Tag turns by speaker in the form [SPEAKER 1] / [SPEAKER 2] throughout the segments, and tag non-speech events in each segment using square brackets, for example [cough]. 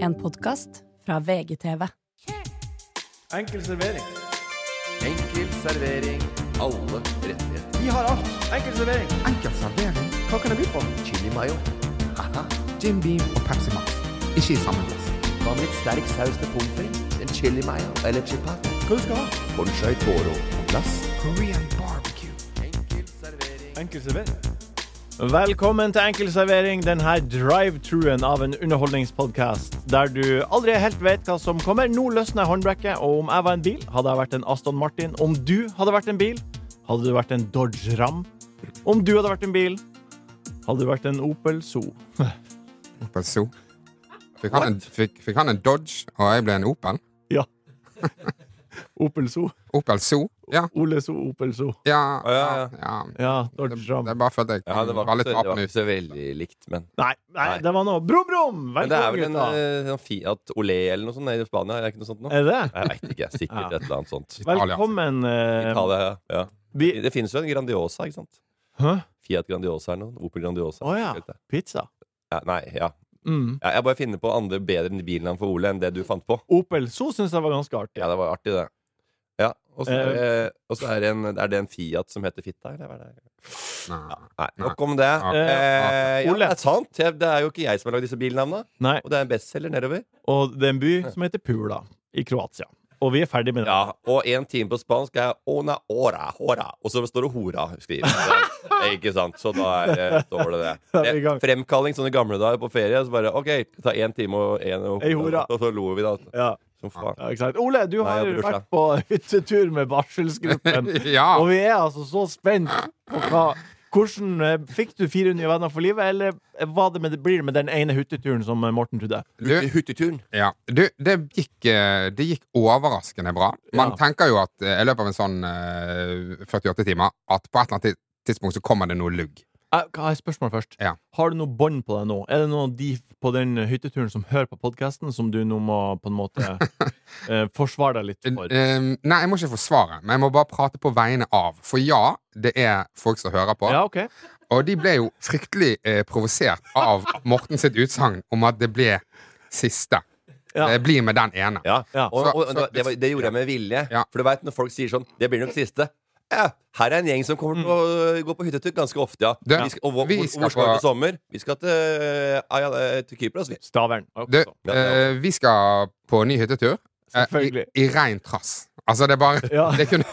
[SPEAKER 1] En podkast fra VGTV.
[SPEAKER 2] Enkel servering.
[SPEAKER 3] Enkel servering. Alle rettigheter.
[SPEAKER 2] Vi har alt. Enkel servering.
[SPEAKER 4] Enkel servering,
[SPEAKER 2] Hva kan jeg by på?
[SPEAKER 3] Chili mayo. Haha.
[SPEAKER 4] Jim Beam og Pepsi Max. Ikke i samme glass.
[SPEAKER 3] Hva med litt sterk saus til pommes frites? En chili mayo eller chipat?
[SPEAKER 2] Hva du skal ha?
[SPEAKER 3] Bonchai toro på glass.
[SPEAKER 4] Korean barbecue.
[SPEAKER 3] Enkel servering.
[SPEAKER 2] Enkel servering. Velkommen til Enkel servering, denne drive-truen av en underholdningspodkast der du aldri helt vet hva som kommer. Nå løsner håndbrekket, og om jeg var en bil, hadde jeg vært en Aston Martin. Om du hadde vært en bil, hadde du vært en Dodge Ram. Om du hadde vært en bil, hadde du vært en Opel Zoo.
[SPEAKER 4] Opel Zoo. Fikk han, en, fikk, fikk han en Dodge, og jeg ble en Opel?
[SPEAKER 2] Ja. Opel Zoo.
[SPEAKER 4] Opel Zoo? Ja.
[SPEAKER 2] Ole Zoo, Opel Zoo.
[SPEAKER 4] Ja.
[SPEAKER 5] ja,
[SPEAKER 4] ja.
[SPEAKER 2] Ja,
[SPEAKER 4] Det,
[SPEAKER 2] Dodge Ram.
[SPEAKER 4] det er bare fordi jeg
[SPEAKER 5] Ja, det var,
[SPEAKER 4] var litt
[SPEAKER 5] ikke, så- det var
[SPEAKER 4] apen
[SPEAKER 5] ikke
[SPEAKER 4] ut.
[SPEAKER 5] så veldig likt, men
[SPEAKER 2] Nei, nei,
[SPEAKER 5] Nei.
[SPEAKER 2] det var noe. Brum, brum!
[SPEAKER 5] Men det er vel en
[SPEAKER 2] Velkommen, gutta.
[SPEAKER 5] eh, sånn Fiat Olé eller noe sånt nede i Spania? Er det ikke noe sånt
[SPEAKER 4] Eh,
[SPEAKER 5] nå?
[SPEAKER 2] Er det det?
[SPEAKER 5] Jeg veit ikke. Sikkert et eller annet sånt.
[SPEAKER 4] Italia.
[SPEAKER 2] Velkommen. eh,
[SPEAKER 5] Italia, ja. ja.
[SPEAKER 2] vi,
[SPEAKER 5] Det finnes jo en Grandiosa, ikke sant?
[SPEAKER 2] Hæ?
[SPEAKER 5] Fiat Grandiosa eller noe. Opel Grandiosa.
[SPEAKER 2] Å, ja.
[SPEAKER 5] Vet jeg.
[SPEAKER 2] pizza.
[SPEAKER 5] Ja, Nei, ja.
[SPEAKER 2] Mm.
[SPEAKER 5] Ja, Jeg bare finner på andre bedre bilnavn for Ole enn det du fant på.
[SPEAKER 2] Opel Zoo syns jeg var ganske artig.
[SPEAKER 5] Ja, det var artig, det. Ja, Og så
[SPEAKER 2] Eh.
[SPEAKER 5] er, det- og så er, det en- er det en Fiat som heter Fitta, eller hva er det?
[SPEAKER 4] Nei.
[SPEAKER 5] Nei,
[SPEAKER 4] Nei.
[SPEAKER 5] nok om det.
[SPEAKER 4] Ja.
[SPEAKER 5] Eh, ja,
[SPEAKER 2] Ole.
[SPEAKER 5] det er sant. Jeg- Det er jo ikke jeg som har lagd disse bilnavna.
[SPEAKER 2] Nei,
[SPEAKER 5] Og det er en bestselger nedover.
[SPEAKER 2] og det er en by som heter Pula i Kroatia. Og vi er ferdig med det.
[SPEAKER 5] Ja, og en time på spansk er ona ora, hora. Og så står det hora, skriver det. Ikke sant? Så da er, det- står det det.
[SPEAKER 2] Da er vi i gang.
[SPEAKER 5] Fremkalling sånn i gamle dager på ferie. Så bare OK, ta én time og én
[SPEAKER 2] Ei hora.
[SPEAKER 5] Og så lo vi, da.
[SPEAKER 2] Ja,
[SPEAKER 5] Som faen.
[SPEAKER 2] ja, ikke sant. Ole, du har
[SPEAKER 5] jeg har
[SPEAKER 2] vært på hyttetur med
[SPEAKER 4] [laughs]
[SPEAKER 2] barselsgruppen.
[SPEAKER 4] [laughs] Ja.
[SPEAKER 2] Og vi er altså så spent på hva hvordan eh, Fikk du fire nye venner for livet, eller var det med, blir det med den ene hytteturen som eh, Morten trodde?
[SPEAKER 4] Du,
[SPEAKER 5] Hutteturen.
[SPEAKER 4] ja. du, det gikk eh, Det gikk overraskende bra. Man
[SPEAKER 2] Ja.
[SPEAKER 4] tenker jo at eh, i løpet av en sånn eh, 48 timer at på et eller annet tidspunkt så kommer det noe lugg.
[SPEAKER 2] Jeg jeg har et spørsmål først.
[SPEAKER 4] Ja.
[SPEAKER 2] Har du noe bånd på deg nå? Er det noen av de på den hytteturen som hører på podkasten, som du nå må på en måte eh, forsvare deg litt for?
[SPEAKER 4] Eh, nei, jeg må ikke forsvare, men jeg må bare prate på vegne av. For ja, det er folk som hører på.
[SPEAKER 2] Ja, OK.
[SPEAKER 4] Og de ble jo fryktelig eh, provosert av Morten sitt utsagn om at det ble siste.
[SPEAKER 2] Ja.
[SPEAKER 4] Det blir med den ene.
[SPEAKER 5] Ja.
[SPEAKER 2] Ja.
[SPEAKER 5] Og, og,
[SPEAKER 4] Så-
[SPEAKER 5] og,
[SPEAKER 4] så-
[SPEAKER 5] det, var- det gjorde jeg med vilje.
[SPEAKER 4] Ja.
[SPEAKER 5] For du veit når folk sier sånn Det blir nok siste. Ja, her er en gjeng som kommer til å øh, gå på hyttetur ganske ofte, ja.
[SPEAKER 4] Du,
[SPEAKER 5] vi skal, og hvor,
[SPEAKER 4] Mm. vi
[SPEAKER 5] hvor,
[SPEAKER 4] skal
[SPEAKER 5] hvor skal vi
[SPEAKER 4] på-
[SPEAKER 5] til sommer? Vi skal til, eh, Ayala- eh, til Kypros, vi.
[SPEAKER 2] Stavern.
[SPEAKER 4] Du,
[SPEAKER 2] Også. sånn.
[SPEAKER 4] eh, vi skal på ny hyttetur. Eh,
[SPEAKER 2] Selvfølgelig.
[SPEAKER 4] I, I rein trass. Altså, det er bare
[SPEAKER 2] Ja.
[SPEAKER 4] [laughs] det, kunne,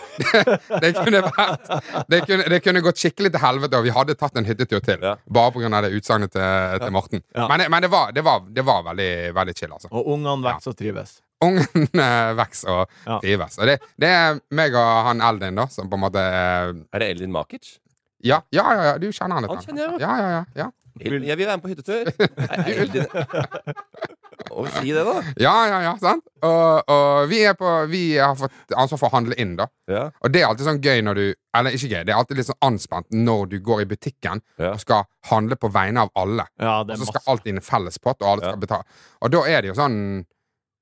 [SPEAKER 4] det, kunne vært det kunne, det kunne gått skikkelig til helvete, og vi hadde tatt en hyttetur til.
[SPEAKER 5] Ja.
[SPEAKER 4] Bare pga. det utsagnet til, til Morten.
[SPEAKER 2] Ja.
[SPEAKER 4] Men, det- men det, var, det, var, det var veldig, veldig chill, altså.
[SPEAKER 2] Og ungene vokser og trives.
[SPEAKER 4] Ungen eh, vokser og
[SPEAKER 2] Ja.
[SPEAKER 4] trives. Og det, det er meg og han Eldin, da, som på en måte eh,
[SPEAKER 5] Er det Elin Makic?
[SPEAKER 4] Ja, ja, ja, ja, du kjenner han litt.
[SPEAKER 5] Han kjenner jeg jo.
[SPEAKER 4] Ja, ja, ja, ja.
[SPEAKER 5] Elin, jeg vil være med på
[SPEAKER 4] [laughs]
[SPEAKER 5] hyttetur. Er Elin Å, Si det, da.
[SPEAKER 4] ja, ja, ja sant? Og, og vi, er på, vi har fått ansvar for å handle inn, da.
[SPEAKER 5] Ja.
[SPEAKER 4] Og det er alltid sånn gøy når du Eller ikke gøy, det er alltid litt sånn anspent når du går i butikken
[SPEAKER 5] Ja.
[SPEAKER 4] og skal handle på vegne av alle.
[SPEAKER 2] Ja, det
[SPEAKER 4] Og
[SPEAKER 2] er
[SPEAKER 4] så
[SPEAKER 2] masse.
[SPEAKER 4] skal alt i en fellespott, og alle
[SPEAKER 5] Ja.
[SPEAKER 4] skal betale. Og da er det jo sånn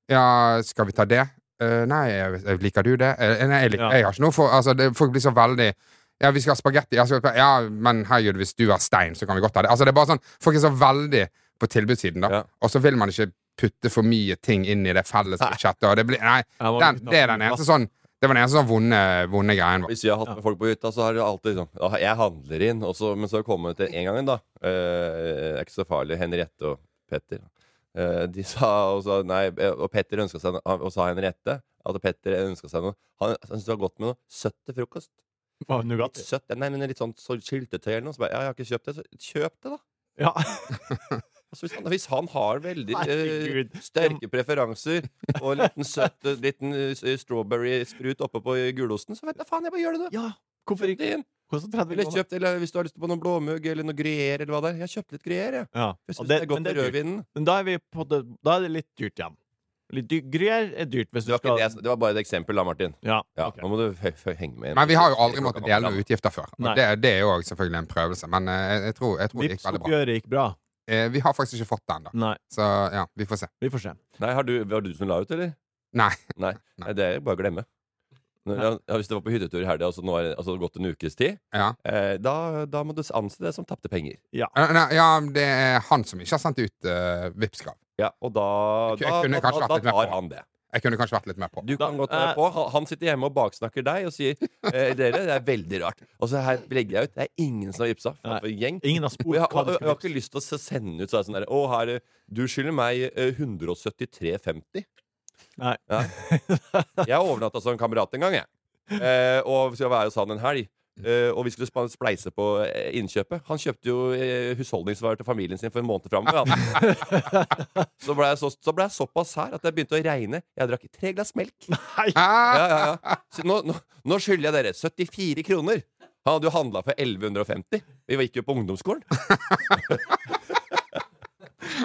[SPEAKER 4] Ja, skal vi ta det? Eh, nei, jeg- jeg- liker du det? Eh, nei, jeg, lik-
[SPEAKER 2] Ja.
[SPEAKER 4] jeg har ikke noe for altså, det, Folk blir så veldig Ja, vi skal ha spagetti. jeg skal ha spag- Ja, men herregud, hvis du har stein, så kan vi godt ha det. Altså, det er bare sånn Folk er så veldig på tilbudssiden, da.
[SPEAKER 5] Ja.
[SPEAKER 4] Og så vil man ikke putte for mye ting inn i det felles budsjettet, og det blir Nei,
[SPEAKER 2] Jeg må
[SPEAKER 4] den,
[SPEAKER 2] ikke ta
[SPEAKER 4] det er
[SPEAKER 2] for
[SPEAKER 4] den
[SPEAKER 2] mye
[SPEAKER 4] eneste sånn Det var den eneste sånn vonde, vonde greien.
[SPEAKER 5] Hvis vi har hatt med folk på hytta, så har det alltid liksom ja, Jeg handler inn, og så, men så har det kommet til en gang, da. Eh, det er ikke så farlig. Henriette og Petter. Eh, de [laughs] sa og sa nei, eh, og Petter ønska seg noe, og sa Henriette at Petter ønska seg noe. Han, han syntes det var godt med noe søtt til frokost.
[SPEAKER 2] Hva, Nougat?
[SPEAKER 5] Søtt, nei, men litt sånn så syltetøy eller noe. Så bare, ja, jeg har ikke kjøpt det. Så kjøp det, da.
[SPEAKER 2] Ja. [laughs]
[SPEAKER 5] Altså, hvis, han, hvis han har veldig eh,
[SPEAKER 2] Herregud.
[SPEAKER 5] sterke preferanser og en liten søt eh, liten eh, s- strawberry-sprut oppå på gulosten, så vet jeg faen, jeg bare gjør det, du.
[SPEAKER 2] ja. Hvorfor
[SPEAKER 5] Det
[SPEAKER 2] ikke?
[SPEAKER 5] er en-
[SPEAKER 2] Koster 30
[SPEAKER 5] Eller
[SPEAKER 2] kroner.
[SPEAKER 5] kjøpt, eller hvis du har lyst på noen blåmugg eller noe gruyère eller hva det er. Jeg har kjøpt litt gruyère, jeg.
[SPEAKER 2] Ja.
[SPEAKER 5] Jeg
[SPEAKER 2] Og
[SPEAKER 5] syns det,
[SPEAKER 2] det-
[SPEAKER 5] er
[SPEAKER 2] men det
[SPEAKER 5] godt med
[SPEAKER 2] er dyrt.
[SPEAKER 5] rødvinen.
[SPEAKER 2] Men da er, vi på det, da er det litt dyrt igjen. Litt dyr, gryer er dyrt hvis
[SPEAKER 5] Det
[SPEAKER 2] du
[SPEAKER 5] var, ikke
[SPEAKER 2] skal
[SPEAKER 5] det, jeg s- det var bare et eksempel, da, Martin.
[SPEAKER 2] Ja.
[SPEAKER 5] Ja,
[SPEAKER 2] ok.
[SPEAKER 5] Nå må du hø hø henge med.
[SPEAKER 4] Men vi har jo aldri måttet dele noen utgifter før.
[SPEAKER 2] Nei.
[SPEAKER 4] Og det, det er jo også selvfølgelig en prøvelse, men eh, jeg, jeg, tror, jeg tror det gikk veldig bra.
[SPEAKER 2] Vipps-oppgjøret gikk bra.
[SPEAKER 4] Eh, vi har faktisk ikke fått det ennå,
[SPEAKER 2] Nei,
[SPEAKER 4] så ja, vi får se.
[SPEAKER 2] vi får se.
[SPEAKER 5] Nei, har du, Var det du som la ut, eller?
[SPEAKER 4] Nei.
[SPEAKER 5] Nei, Nei det er jo bare å glemme. Nå- Ja, hvis det var på hyttetur i helga, altså, nå er det- altså det har gått en ukes tid,
[SPEAKER 4] Ja.
[SPEAKER 5] eh, da, da må du anse det som tapte penger.
[SPEAKER 4] Eh, Nei, ja, det er han som ikke har sendt ut uh, Vipps-krav.
[SPEAKER 5] Ja, og da,
[SPEAKER 4] Jeg
[SPEAKER 5] da, da,
[SPEAKER 4] kunne kanskje
[SPEAKER 5] da,
[SPEAKER 4] vært litt mer
[SPEAKER 5] tar
[SPEAKER 4] på.
[SPEAKER 5] han det.
[SPEAKER 4] Jeg kunne kanskje vært litt mer på.
[SPEAKER 5] Du kan
[SPEAKER 2] Da-
[SPEAKER 5] godt være
[SPEAKER 2] eh.
[SPEAKER 5] på. Han- Han sitter hjemme og baksnakker deg og sier eh, Dere, det er veldig rart. Og så her legger jeg ut. Det er ingen som har gipsa.
[SPEAKER 2] Nei.
[SPEAKER 5] Faen for en gjeng.
[SPEAKER 2] Ingen har
[SPEAKER 5] Og
[SPEAKER 2] spurt
[SPEAKER 5] jeg,
[SPEAKER 2] hva
[SPEAKER 5] har-
[SPEAKER 2] det
[SPEAKER 5] jeg, har
[SPEAKER 2] skulle
[SPEAKER 5] ikke lyst til å se- sende ut sånn der Å, her, eh, du skylder meg eh, 173,50.
[SPEAKER 2] Nei.
[SPEAKER 5] Ja. Jeg overnatta som kamerat en gang, jeg. Eh, og skal være hos han en helg. Eh, og vi skulle spa- spleise på eh, innkjøpet. Han kjøpte jo eh, husholdningsvarer til familien sin for en måned framover. han. Så ble jeg, så, så ble jeg såpass sær at jeg begynte å regne. Jeg drakk tre glass melk.
[SPEAKER 2] Nei,
[SPEAKER 4] Ah,
[SPEAKER 5] Ja, ja, ja. Så nå, nå, nå skylder jeg dere 74 kroner. Han hadde jo handla for 1150. Vi gikk jo på ungdomsskolen.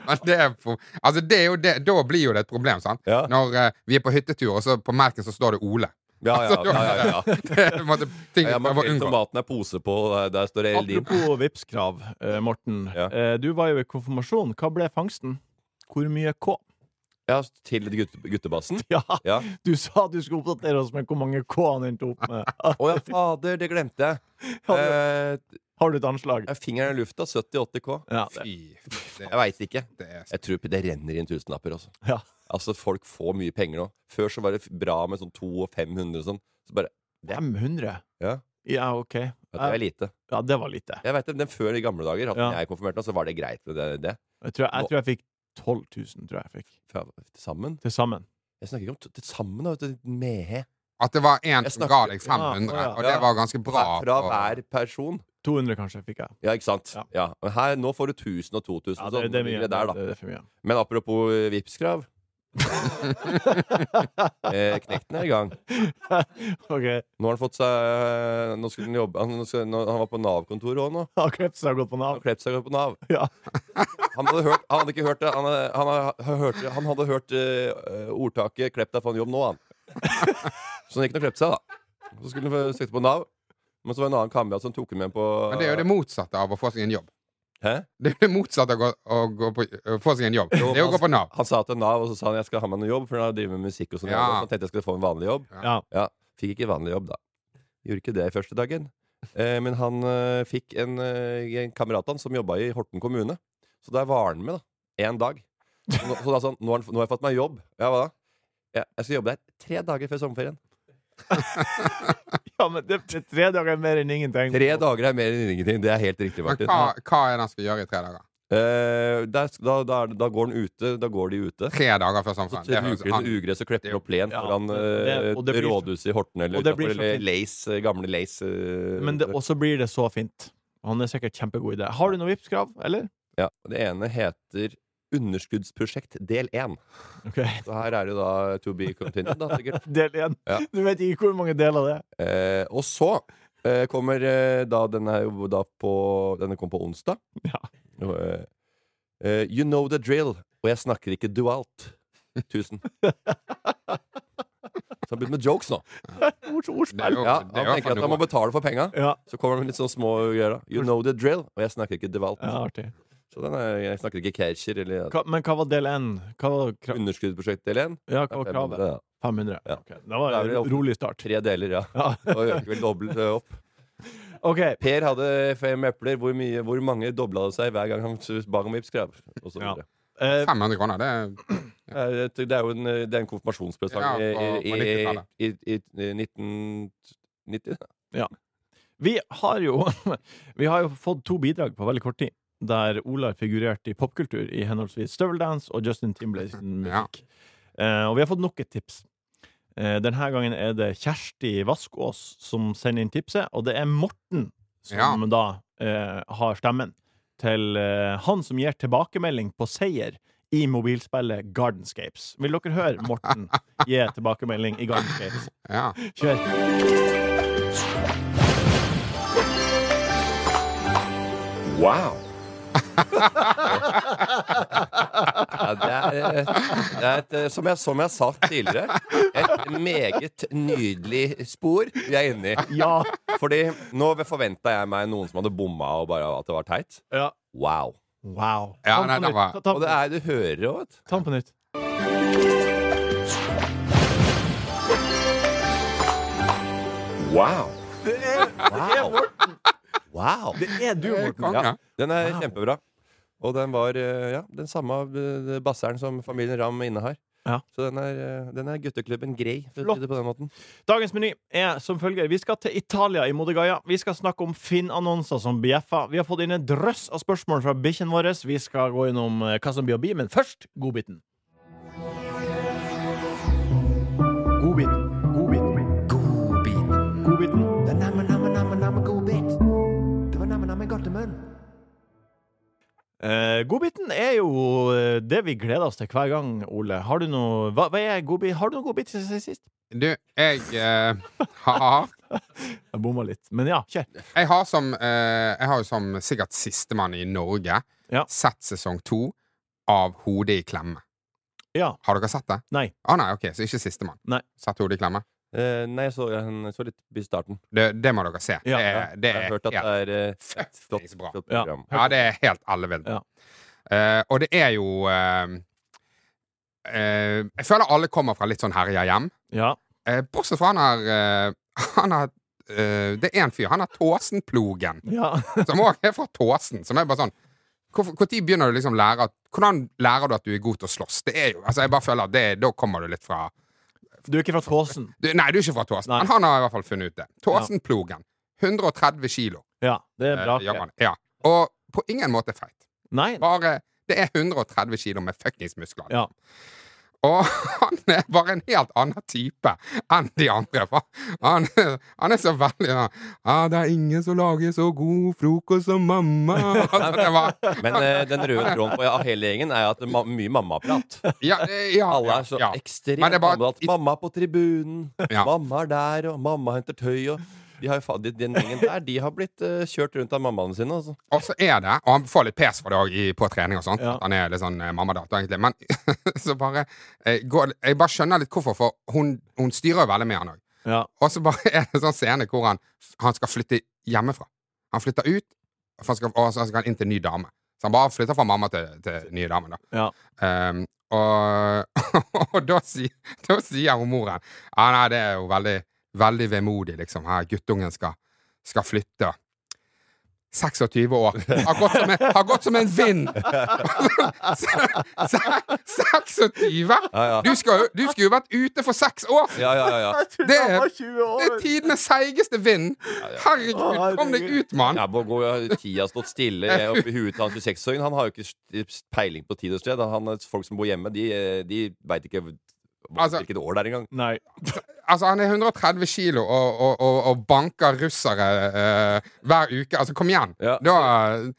[SPEAKER 4] men det er, for- altså det er jo det, da blir jo det et problem, sant?
[SPEAKER 5] Ja.
[SPEAKER 4] Når eh, vi er på hyttetur, og så på merken så står det Ole.
[SPEAKER 5] Ja, ja,
[SPEAKER 4] Altså,
[SPEAKER 5] ja, ja, ja,
[SPEAKER 2] [laughs]
[SPEAKER 5] ja.
[SPEAKER 4] [laughs] Det er på en måte ting
[SPEAKER 5] Jeg
[SPEAKER 4] jeg
[SPEAKER 5] må
[SPEAKER 4] prøver å
[SPEAKER 5] pille
[SPEAKER 4] unngå.
[SPEAKER 5] tomaten er pose på, der- der står det Eldin.
[SPEAKER 2] Apropos Vipps-krav, eh, Morten.
[SPEAKER 5] Ja.
[SPEAKER 2] Eh, du var jo i konfirmasjon. Hva ble fangsten? Hvor mye K? [laughs]
[SPEAKER 5] Ja, til gutte, guttebassen.
[SPEAKER 2] Ja,
[SPEAKER 5] Ja.
[SPEAKER 2] du sa du skulle oppdatere oss med hvor mange K han endte opp med. Ah,
[SPEAKER 5] Å ja, fader, det
[SPEAKER 2] [laughs]
[SPEAKER 5] glemte jeg.
[SPEAKER 2] Har
[SPEAKER 5] Eh,
[SPEAKER 2] har du et anslag?
[SPEAKER 5] fingeren i lufta, 70-80 K.
[SPEAKER 2] Ja, det.
[SPEAKER 4] Fy,
[SPEAKER 5] Jeg veit ikke.
[SPEAKER 4] det er
[SPEAKER 5] Jeg tror det renner inn tusenlapper. Også.
[SPEAKER 2] Ja.
[SPEAKER 5] Altså, folk får mye penger nå. Før så var det f- bra med sånn 200 og 500 og sånn. Så bare
[SPEAKER 2] 500?
[SPEAKER 5] Ja.
[SPEAKER 2] Ja, OK.
[SPEAKER 5] at Det er lite.
[SPEAKER 2] Ja, det var lite.
[SPEAKER 5] Jeg vet det, men Før i gamle dager, at
[SPEAKER 2] Ja.
[SPEAKER 5] når jeg konfirmerte meg, så var det greit med det. det.
[SPEAKER 2] Jeg tror jeg, jeg, tror jeg fikk 12 000, tror jeg jeg fikk.
[SPEAKER 5] Fra- Til sammen.
[SPEAKER 2] Til sammen.
[SPEAKER 5] Jeg snakker ikke om t- til sammen, da. vet du, Mehe.
[SPEAKER 4] At det var en
[SPEAKER 5] Jeg
[SPEAKER 4] som
[SPEAKER 5] snakker-
[SPEAKER 4] ga deg
[SPEAKER 2] Ja,
[SPEAKER 4] 500,
[SPEAKER 2] å ja.
[SPEAKER 4] og det
[SPEAKER 5] Ja.
[SPEAKER 4] var ganske bra.
[SPEAKER 5] Fra
[SPEAKER 4] på-
[SPEAKER 5] hver person.
[SPEAKER 2] 200, kanskje, fikk jeg.
[SPEAKER 5] Ja, ikke sant?
[SPEAKER 2] Ja.
[SPEAKER 5] Ja. Men her, nå får du 1000 og 2000.
[SPEAKER 2] Ja,
[SPEAKER 5] og
[SPEAKER 2] det,
[SPEAKER 5] sånn,
[SPEAKER 2] det er mye.
[SPEAKER 5] det der, da.
[SPEAKER 2] Det, det er for mye.
[SPEAKER 5] Men apropos eh,
[SPEAKER 2] [laughs]
[SPEAKER 5] Vipps-krav eh, Knekten er i gang.
[SPEAKER 2] OK. [laughs]
[SPEAKER 5] Nå har han fått seg eh, Nå skulle han jobbe Han, nå skulle, nå, han var på Nav-kontoret òg nå.
[SPEAKER 2] Har Kreps har gått på
[SPEAKER 5] Han
[SPEAKER 2] Nav?
[SPEAKER 5] klepte seg på Nav.
[SPEAKER 2] Ja.
[SPEAKER 5] Han hadde, hørt, han hadde ikke hørt det. Han hadde, han hadde hørt, det- han hadde hørt eh, ordtaket 'klepp deg for en jobb' nå, han. Så han gikk nå og klepte seg, da. Så skulle han få sitte på Nav. Men så var det en annen kamerat som tok ham med på
[SPEAKER 4] Men det er jo det motsatte av å få seg en jobb.
[SPEAKER 5] Hæ?
[SPEAKER 4] Det er jo det motsatte av å, gå- å, gå på, å få seg en jobb. Det
[SPEAKER 5] altså-
[SPEAKER 4] er å gå på Nav.
[SPEAKER 5] Han sa til Nav, og så sa han 'jeg skal ha meg noe jobb', for han driver med musikk og sånn.
[SPEAKER 4] Ja.
[SPEAKER 5] Så han tenkte jeg skulle få en vanlig jobb.
[SPEAKER 2] Ja.
[SPEAKER 5] Ja, fikk ikke vanlig jobb da Gjorde ikke det første dagen eh, Men han eh, fikk en, eh, en kamerat han som jobbet i Horten kommune Så der var han med da En dag Så, nå- så da sa han, nå har, han f- nå har jeg fått meg jobb Ja, hva da? Ja, jeg skal jobbe der tre dager før sommerferien
[SPEAKER 2] ja, men det er tre dager mer enn ingenting.
[SPEAKER 5] Tre dager er mer enn ingenting, det er helt riktig
[SPEAKER 4] Men
[SPEAKER 5] Martin
[SPEAKER 4] hva, hva er det han skal gjøre i tre dager?
[SPEAKER 5] eh, der, sk- da, da, er det- da går han ute Da går de ute
[SPEAKER 4] Tre dager før
[SPEAKER 5] så
[SPEAKER 4] samfunnet. Det høres
[SPEAKER 5] ruker det altså,
[SPEAKER 4] an.
[SPEAKER 5] ugress og klipper opp len
[SPEAKER 2] Ja,
[SPEAKER 5] foran
[SPEAKER 2] det-
[SPEAKER 5] eh,
[SPEAKER 2] og det blir så-
[SPEAKER 5] rådhuset i Horten Eller,
[SPEAKER 2] og det blir
[SPEAKER 5] utenfor,
[SPEAKER 2] så
[SPEAKER 5] eller
[SPEAKER 2] fint.
[SPEAKER 5] leis, eh, gamle leis eh,
[SPEAKER 2] Men det, og så blir det så fint. Han er sikkert kjempegod i det. Har du noe Vipps-krav, eller?
[SPEAKER 5] Ja, Det ene heter Underskuddsprosjekt del 1.
[SPEAKER 2] Ok,
[SPEAKER 5] Så her er det jo da to be continued. Da, sikkert.
[SPEAKER 2] [laughs] Del én.
[SPEAKER 5] Ja.
[SPEAKER 2] Du vet ikke hvor mange deler det er.
[SPEAKER 5] eh, og så eh, kommer eh, da den er jo da på Denne kom på onsdag.
[SPEAKER 2] Ja.
[SPEAKER 5] Og, eh, eh, you know the drill, og jeg snakker ikke dualt. Tusen.
[SPEAKER 2] [laughs]
[SPEAKER 5] Så han begynner med jokes nå.
[SPEAKER 2] Ord,
[SPEAKER 4] Det er
[SPEAKER 2] ordspill.
[SPEAKER 4] jo-
[SPEAKER 5] Ja,
[SPEAKER 4] det
[SPEAKER 5] Han
[SPEAKER 4] er jo
[SPEAKER 5] tenker at han må
[SPEAKER 4] noe.
[SPEAKER 5] betale for penga.
[SPEAKER 2] Ja.
[SPEAKER 5] Så kommer han med litt sånne små greier. da You know the drill, og jeg snakker ikke dualt.
[SPEAKER 2] ja, artig.
[SPEAKER 5] Så den er, jeg snakker ikke Kercher eller
[SPEAKER 2] Hva, men hva var del én? Hva var, kra
[SPEAKER 5] Underskuddsprosjekt del 1.
[SPEAKER 2] ja, hva var kravet? 500.
[SPEAKER 5] Ja.
[SPEAKER 2] Ok, Det var
[SPEAKER 5] Da er det
[SPEAKER 2] en
[SPEAKER 5] opp-
[SPEAKER 2] rolig start.
[SPEAKER 5] Tre deler, ja.
[SPEAKER 2] Ja.
[SPEAKER 5] Og øker vel dobbelt eh, opp.
[SPEAKER 2] OK.
[SPEAKER 5] Per hadde fem epler. Hvor, mye, hvor mange dobla det seg hver gang han s- ba om Vipps-krav? Og så videre.
[SPEAKER 2] Eh,
[SPEAKER 4] 500 kroner, det er
[SPEAKER 5] Eh, Det det er jo en, eh, det er en konfirmasjonspresang
[SPEAKER 4] Ja,
[SPEAKER 5] i,
[SPEAKER 4] på-
[SPEAKER 5] i,
[SPEAKER 4] på
[SPEAKER 5] i,
[SPEAKER 4] 90-tallet.
[SPEAKER 5] i, i, i 1990. da.
[SPEAKER 2] vi har jo [laughs] Vi har jo fått to bidrag på veldig kort tid. Der Ola figurerte i popkultur i henholdsvis Støveldance og Justin Timberlakes musikk. Eh, og vi har fått nok et tips. Eh, denne gangen er det Kjersti Vaskås som sender inn tipset, og det er Morten som
[SPEAKER 4] Ja.
[SPEAKER 2] da eh, har stemmen til eh, han som gir tilbakemelding på seier i mobilspillet Gardenscapes. Vil dere høre Morten gi tilbakemelding i Gardenscapes?
[SPEAKER 4] Ja.
[SPEAKER 2] Kjør.
[SPEAKER 5] Wow! ja, det er, eh, det er et, eh, som, jeg, som jeg sa tidligere, et meget nydelig spor vi er inne i.
[SPEAKER 2] Ja.
[SPEAKER 5] Fordi nå forventa jeg meg noen som hadde bomma og bare at det var teit.
[SPEAKER 2] ja.
[SPEAKER 5] Wow.
[SPEAKER 2] Wow.
[SPEAKER 4] Ja,
[SPEAKER 2] Ta den
[SPEAKER 4] nei,
[SPEAKER 2] på
[SPEAKER 4] den
[SPEAKER 2] nytt.
[SPEAKER 4] var-
[SPEAKER 2] Ta- ta
[SPEAKER 5] Og
[SPEAKER 2] den
[SPEAKER 5] det
[SPEAKER 2] på nytt.
[SPEAKER 5] er, du hører jo, vet du.
[SPEAKER 2] Ta den på nytt.
[SPEAKER 5] Wow. Wow. wow.
[SPEAKER 2] Det er du, Morten.
[SPEAKER 4] Konge.
[SPEAKER 5] Ja, den er
[SPEAKER 2] Wow.
[SPEAKER 5] kjempebra. Og den var eh, ja, den samme eh, basseren som familien Ramm innehar.
[SPEAKER 2] Ja.
[SPEAKER 5] Så den er, eh, den er gutteklubben grei, for å
[SPEAKER 2] Flott.
[SPEAKER 5] si det på den måten.
[SPEAKER 2] Dagens meny er som følger. Vi skal til Italia i Modigaya. Vi skal snakke om Finn-annonser som bjeffer. Vi har fått inn en drøss av spørsmål fra bikkjen vår. Vi skal gå innom eh, hva som blir å bli, men først godbiten. Godbiten. Godbiten.
[SPEAKER 3] Godbit.
[SPEAKER 2] Godbiten.
[SPEAKER 3] Det er namme, namme, namme, namme godbit. Det var namme, namme godtemunn.
[SPEAKER 2] Eh, godbiten er jo eh, det vi gleder oss til hver gang, Ole. Har du noe, hva, hva er godbit? Har du noe godbit siden sist?
[SPEAKER 4] Du, jeg eh, har
[SPEAKER 2] Jeg bomma litt, men ja, kjør.
[SPEAKER 4] Jeg har, som, eh, jeg har jo som sikkert sistemann i Norge
[SPEAKER 2] Ja.
[SPEAKER 4] sett sesong to av Hodet i klemme.
[SPEAKER 2] Ja.
[SPEAKER 4] Har dere sett det?
[SPEAKER 2] Nei.
[SPEAKER 4] Å nei, ok, Så ikke sistemann.
[SPEAKER 2] Nei.
[SPEAKER 4] Sett Hodet i klemme.
[SPEAKER 5] Eh, nei, jeg så, jeg så litt i starten.
[SPEAKER 4] Det, det må dere se.
[SPEAKER 2] Ja,
[SPEAKER 4] det,
[SPEAKER 5] Ja,
[SPEAKER 4] er- det
[SPEAKER 5] jeg har
[SPEAKER 4] er
[SPEAKER 5] hørt at
[SPEAKER 4] helt,
[SPEAKER 5] det er eh, et flott,
[SPEAKER 4] fuckings bra.
[SPEAKER 5] flott
[SPEAKER 2] Ja.
[SPEAKER 5] program.
[SPEAKER 4] Ja, det er helt ellevilt.
[SPEAKER 2] Ja.
[SPEAKER 4] Eh, og det er jo eh, eh, Jeg føler alle kommer fra litt sånn herja hjem.
[SPEAKER 2] Ja.
[SPEAKER 4] Eh, bortsett fra han her eh, [laughs] Han har eh, Det er en fyr. Han har Tåsenplogen.
[SPEAKER 2] ja.
[SPEAKER 4] Som òg er fra Tåsen. Som er bare sånn Når begynner du liksom å lære at Hvordan lærer du at du er god til å slåss? Det er jo, altså jeg bare føler at det, Da kommer du litt fra
[SPEAKER 2] Du er ikke fra Tåsen?
[SPEAKER 4] du, Nei, du er ikke fra Tåsen,
[SPEAKER 2] Nei.
[SPEAKER 4] men han har i hvert fall funnet ut det. Tåsenplogen. 130 kilo.
[SPEAKER 2] Ja, det er
[SPEAKER 4] eh,
[SPEAKER 2] bra.
[SPEAKER 4] japan. ja. Og på ingen måte feit.
[SPEAKER 2] Nei,
[SPEAKER 4] Bare Det er 130 kilo med fuckings muskler.
[SPEAKER 2] Ja.
[SPEAKER 4] Og han er bare en helt annen type enn de andre. For han, han er så veldig sånn ah, 'Det er ingen som lager så god frokost som
[SPEAKER 5] [laughs]
[SPEAKER 4] mamma'. Altså, det var,
[SPEAKER 5] Men
[SPEAKER 4] [laughs]
[SPEAKER 5] eh, den røde tråden på ja, hele gjengen er at det er ma mye mammaprat.
[SPEAKER 4] ja, eh, ja,
[SPEAKER 5] Alle
[SPEAKER 4] ja,
[SPEAKER 5] er så
[SPEAKER 4] ja.
[SPEAKER 5] ekstremt
[SPEAKER 4] Men det er bare-
[SPEAKER 5] mammaprat. Mamma er på tribunen,
[SPEAKER 4] Ja.
[SPEAKER 5] mamma er der, og mamma henter tøy, og de har jo faen, de- den gjengen der, de har blitt eh, kjørt rundt av mammaene sine, altså.
[SPEAKER 4] Og så er det, og han får litt pes for det også i- på trening og sånt,
[SPEAKER 2] Ja.
[SPEAKER 4] at han er litt sånn eh, mammadato egentlig, men [laughs] så bare eh, går, Jeg bare skjønner litt hvorfor, for hun, hun styrer jo veldig med han òg.
[SPEAKER 2] Ja.
[SPEAKER 4] Og så bare [laughs] er det en sånn scene hvor han, han skal flytte hjemmefra. Han flytter ut, for han skal, og så skal han inn til en ny dame. Så han bare flytter fra mamma til, til nye damen, da.
[SPEAKER 2] Ja.
[SPEAKER 4] Ehm, og [laughs] og da, sier, da sier hun moren Ja, nei, det er jo veldig, veldig vemodig, liksom. Her, guttungen skal, skal flytte. 26 år. Har gått som en, har gått som en vind! [laughs] Se- se- 26!
[SPEAKER 5] Ja, ja.
[SPEAKER 4] Du skal jo- du skulle jo vært ute for seks år siden!
[SPEAKER 5] Ja, ja, ja,
[SPEAKER 4] [laughs]
[SPEAKER 5] ja.
[SPEAKER 4] Det er- han var
[SPEAKER 2] 20
[SPEAKER 4] Det er tidenes seigeste vind! Herregud, kom deg ut, mann!
[SPEAKER 5] Ja, hvor går tida stått stille Jeg er oppe i huet til han 26-åringen? Han har jo ikke st- peiling på tid og sted. Han, folk som bor hjemme, de, eh, de veit ikke hva-
[SPEAKER 4] Altså-
[SPEAKER 5] hvilket år det er engang.
[SPEAKER 2] Nei.
[SPEAKER 4] Altså, han er 130 kilo og, og, og, og banker russere eh, hver uke. Altså, kom igjen!
[SPEAKER 5] Ja.
[SPEAKER 4] Da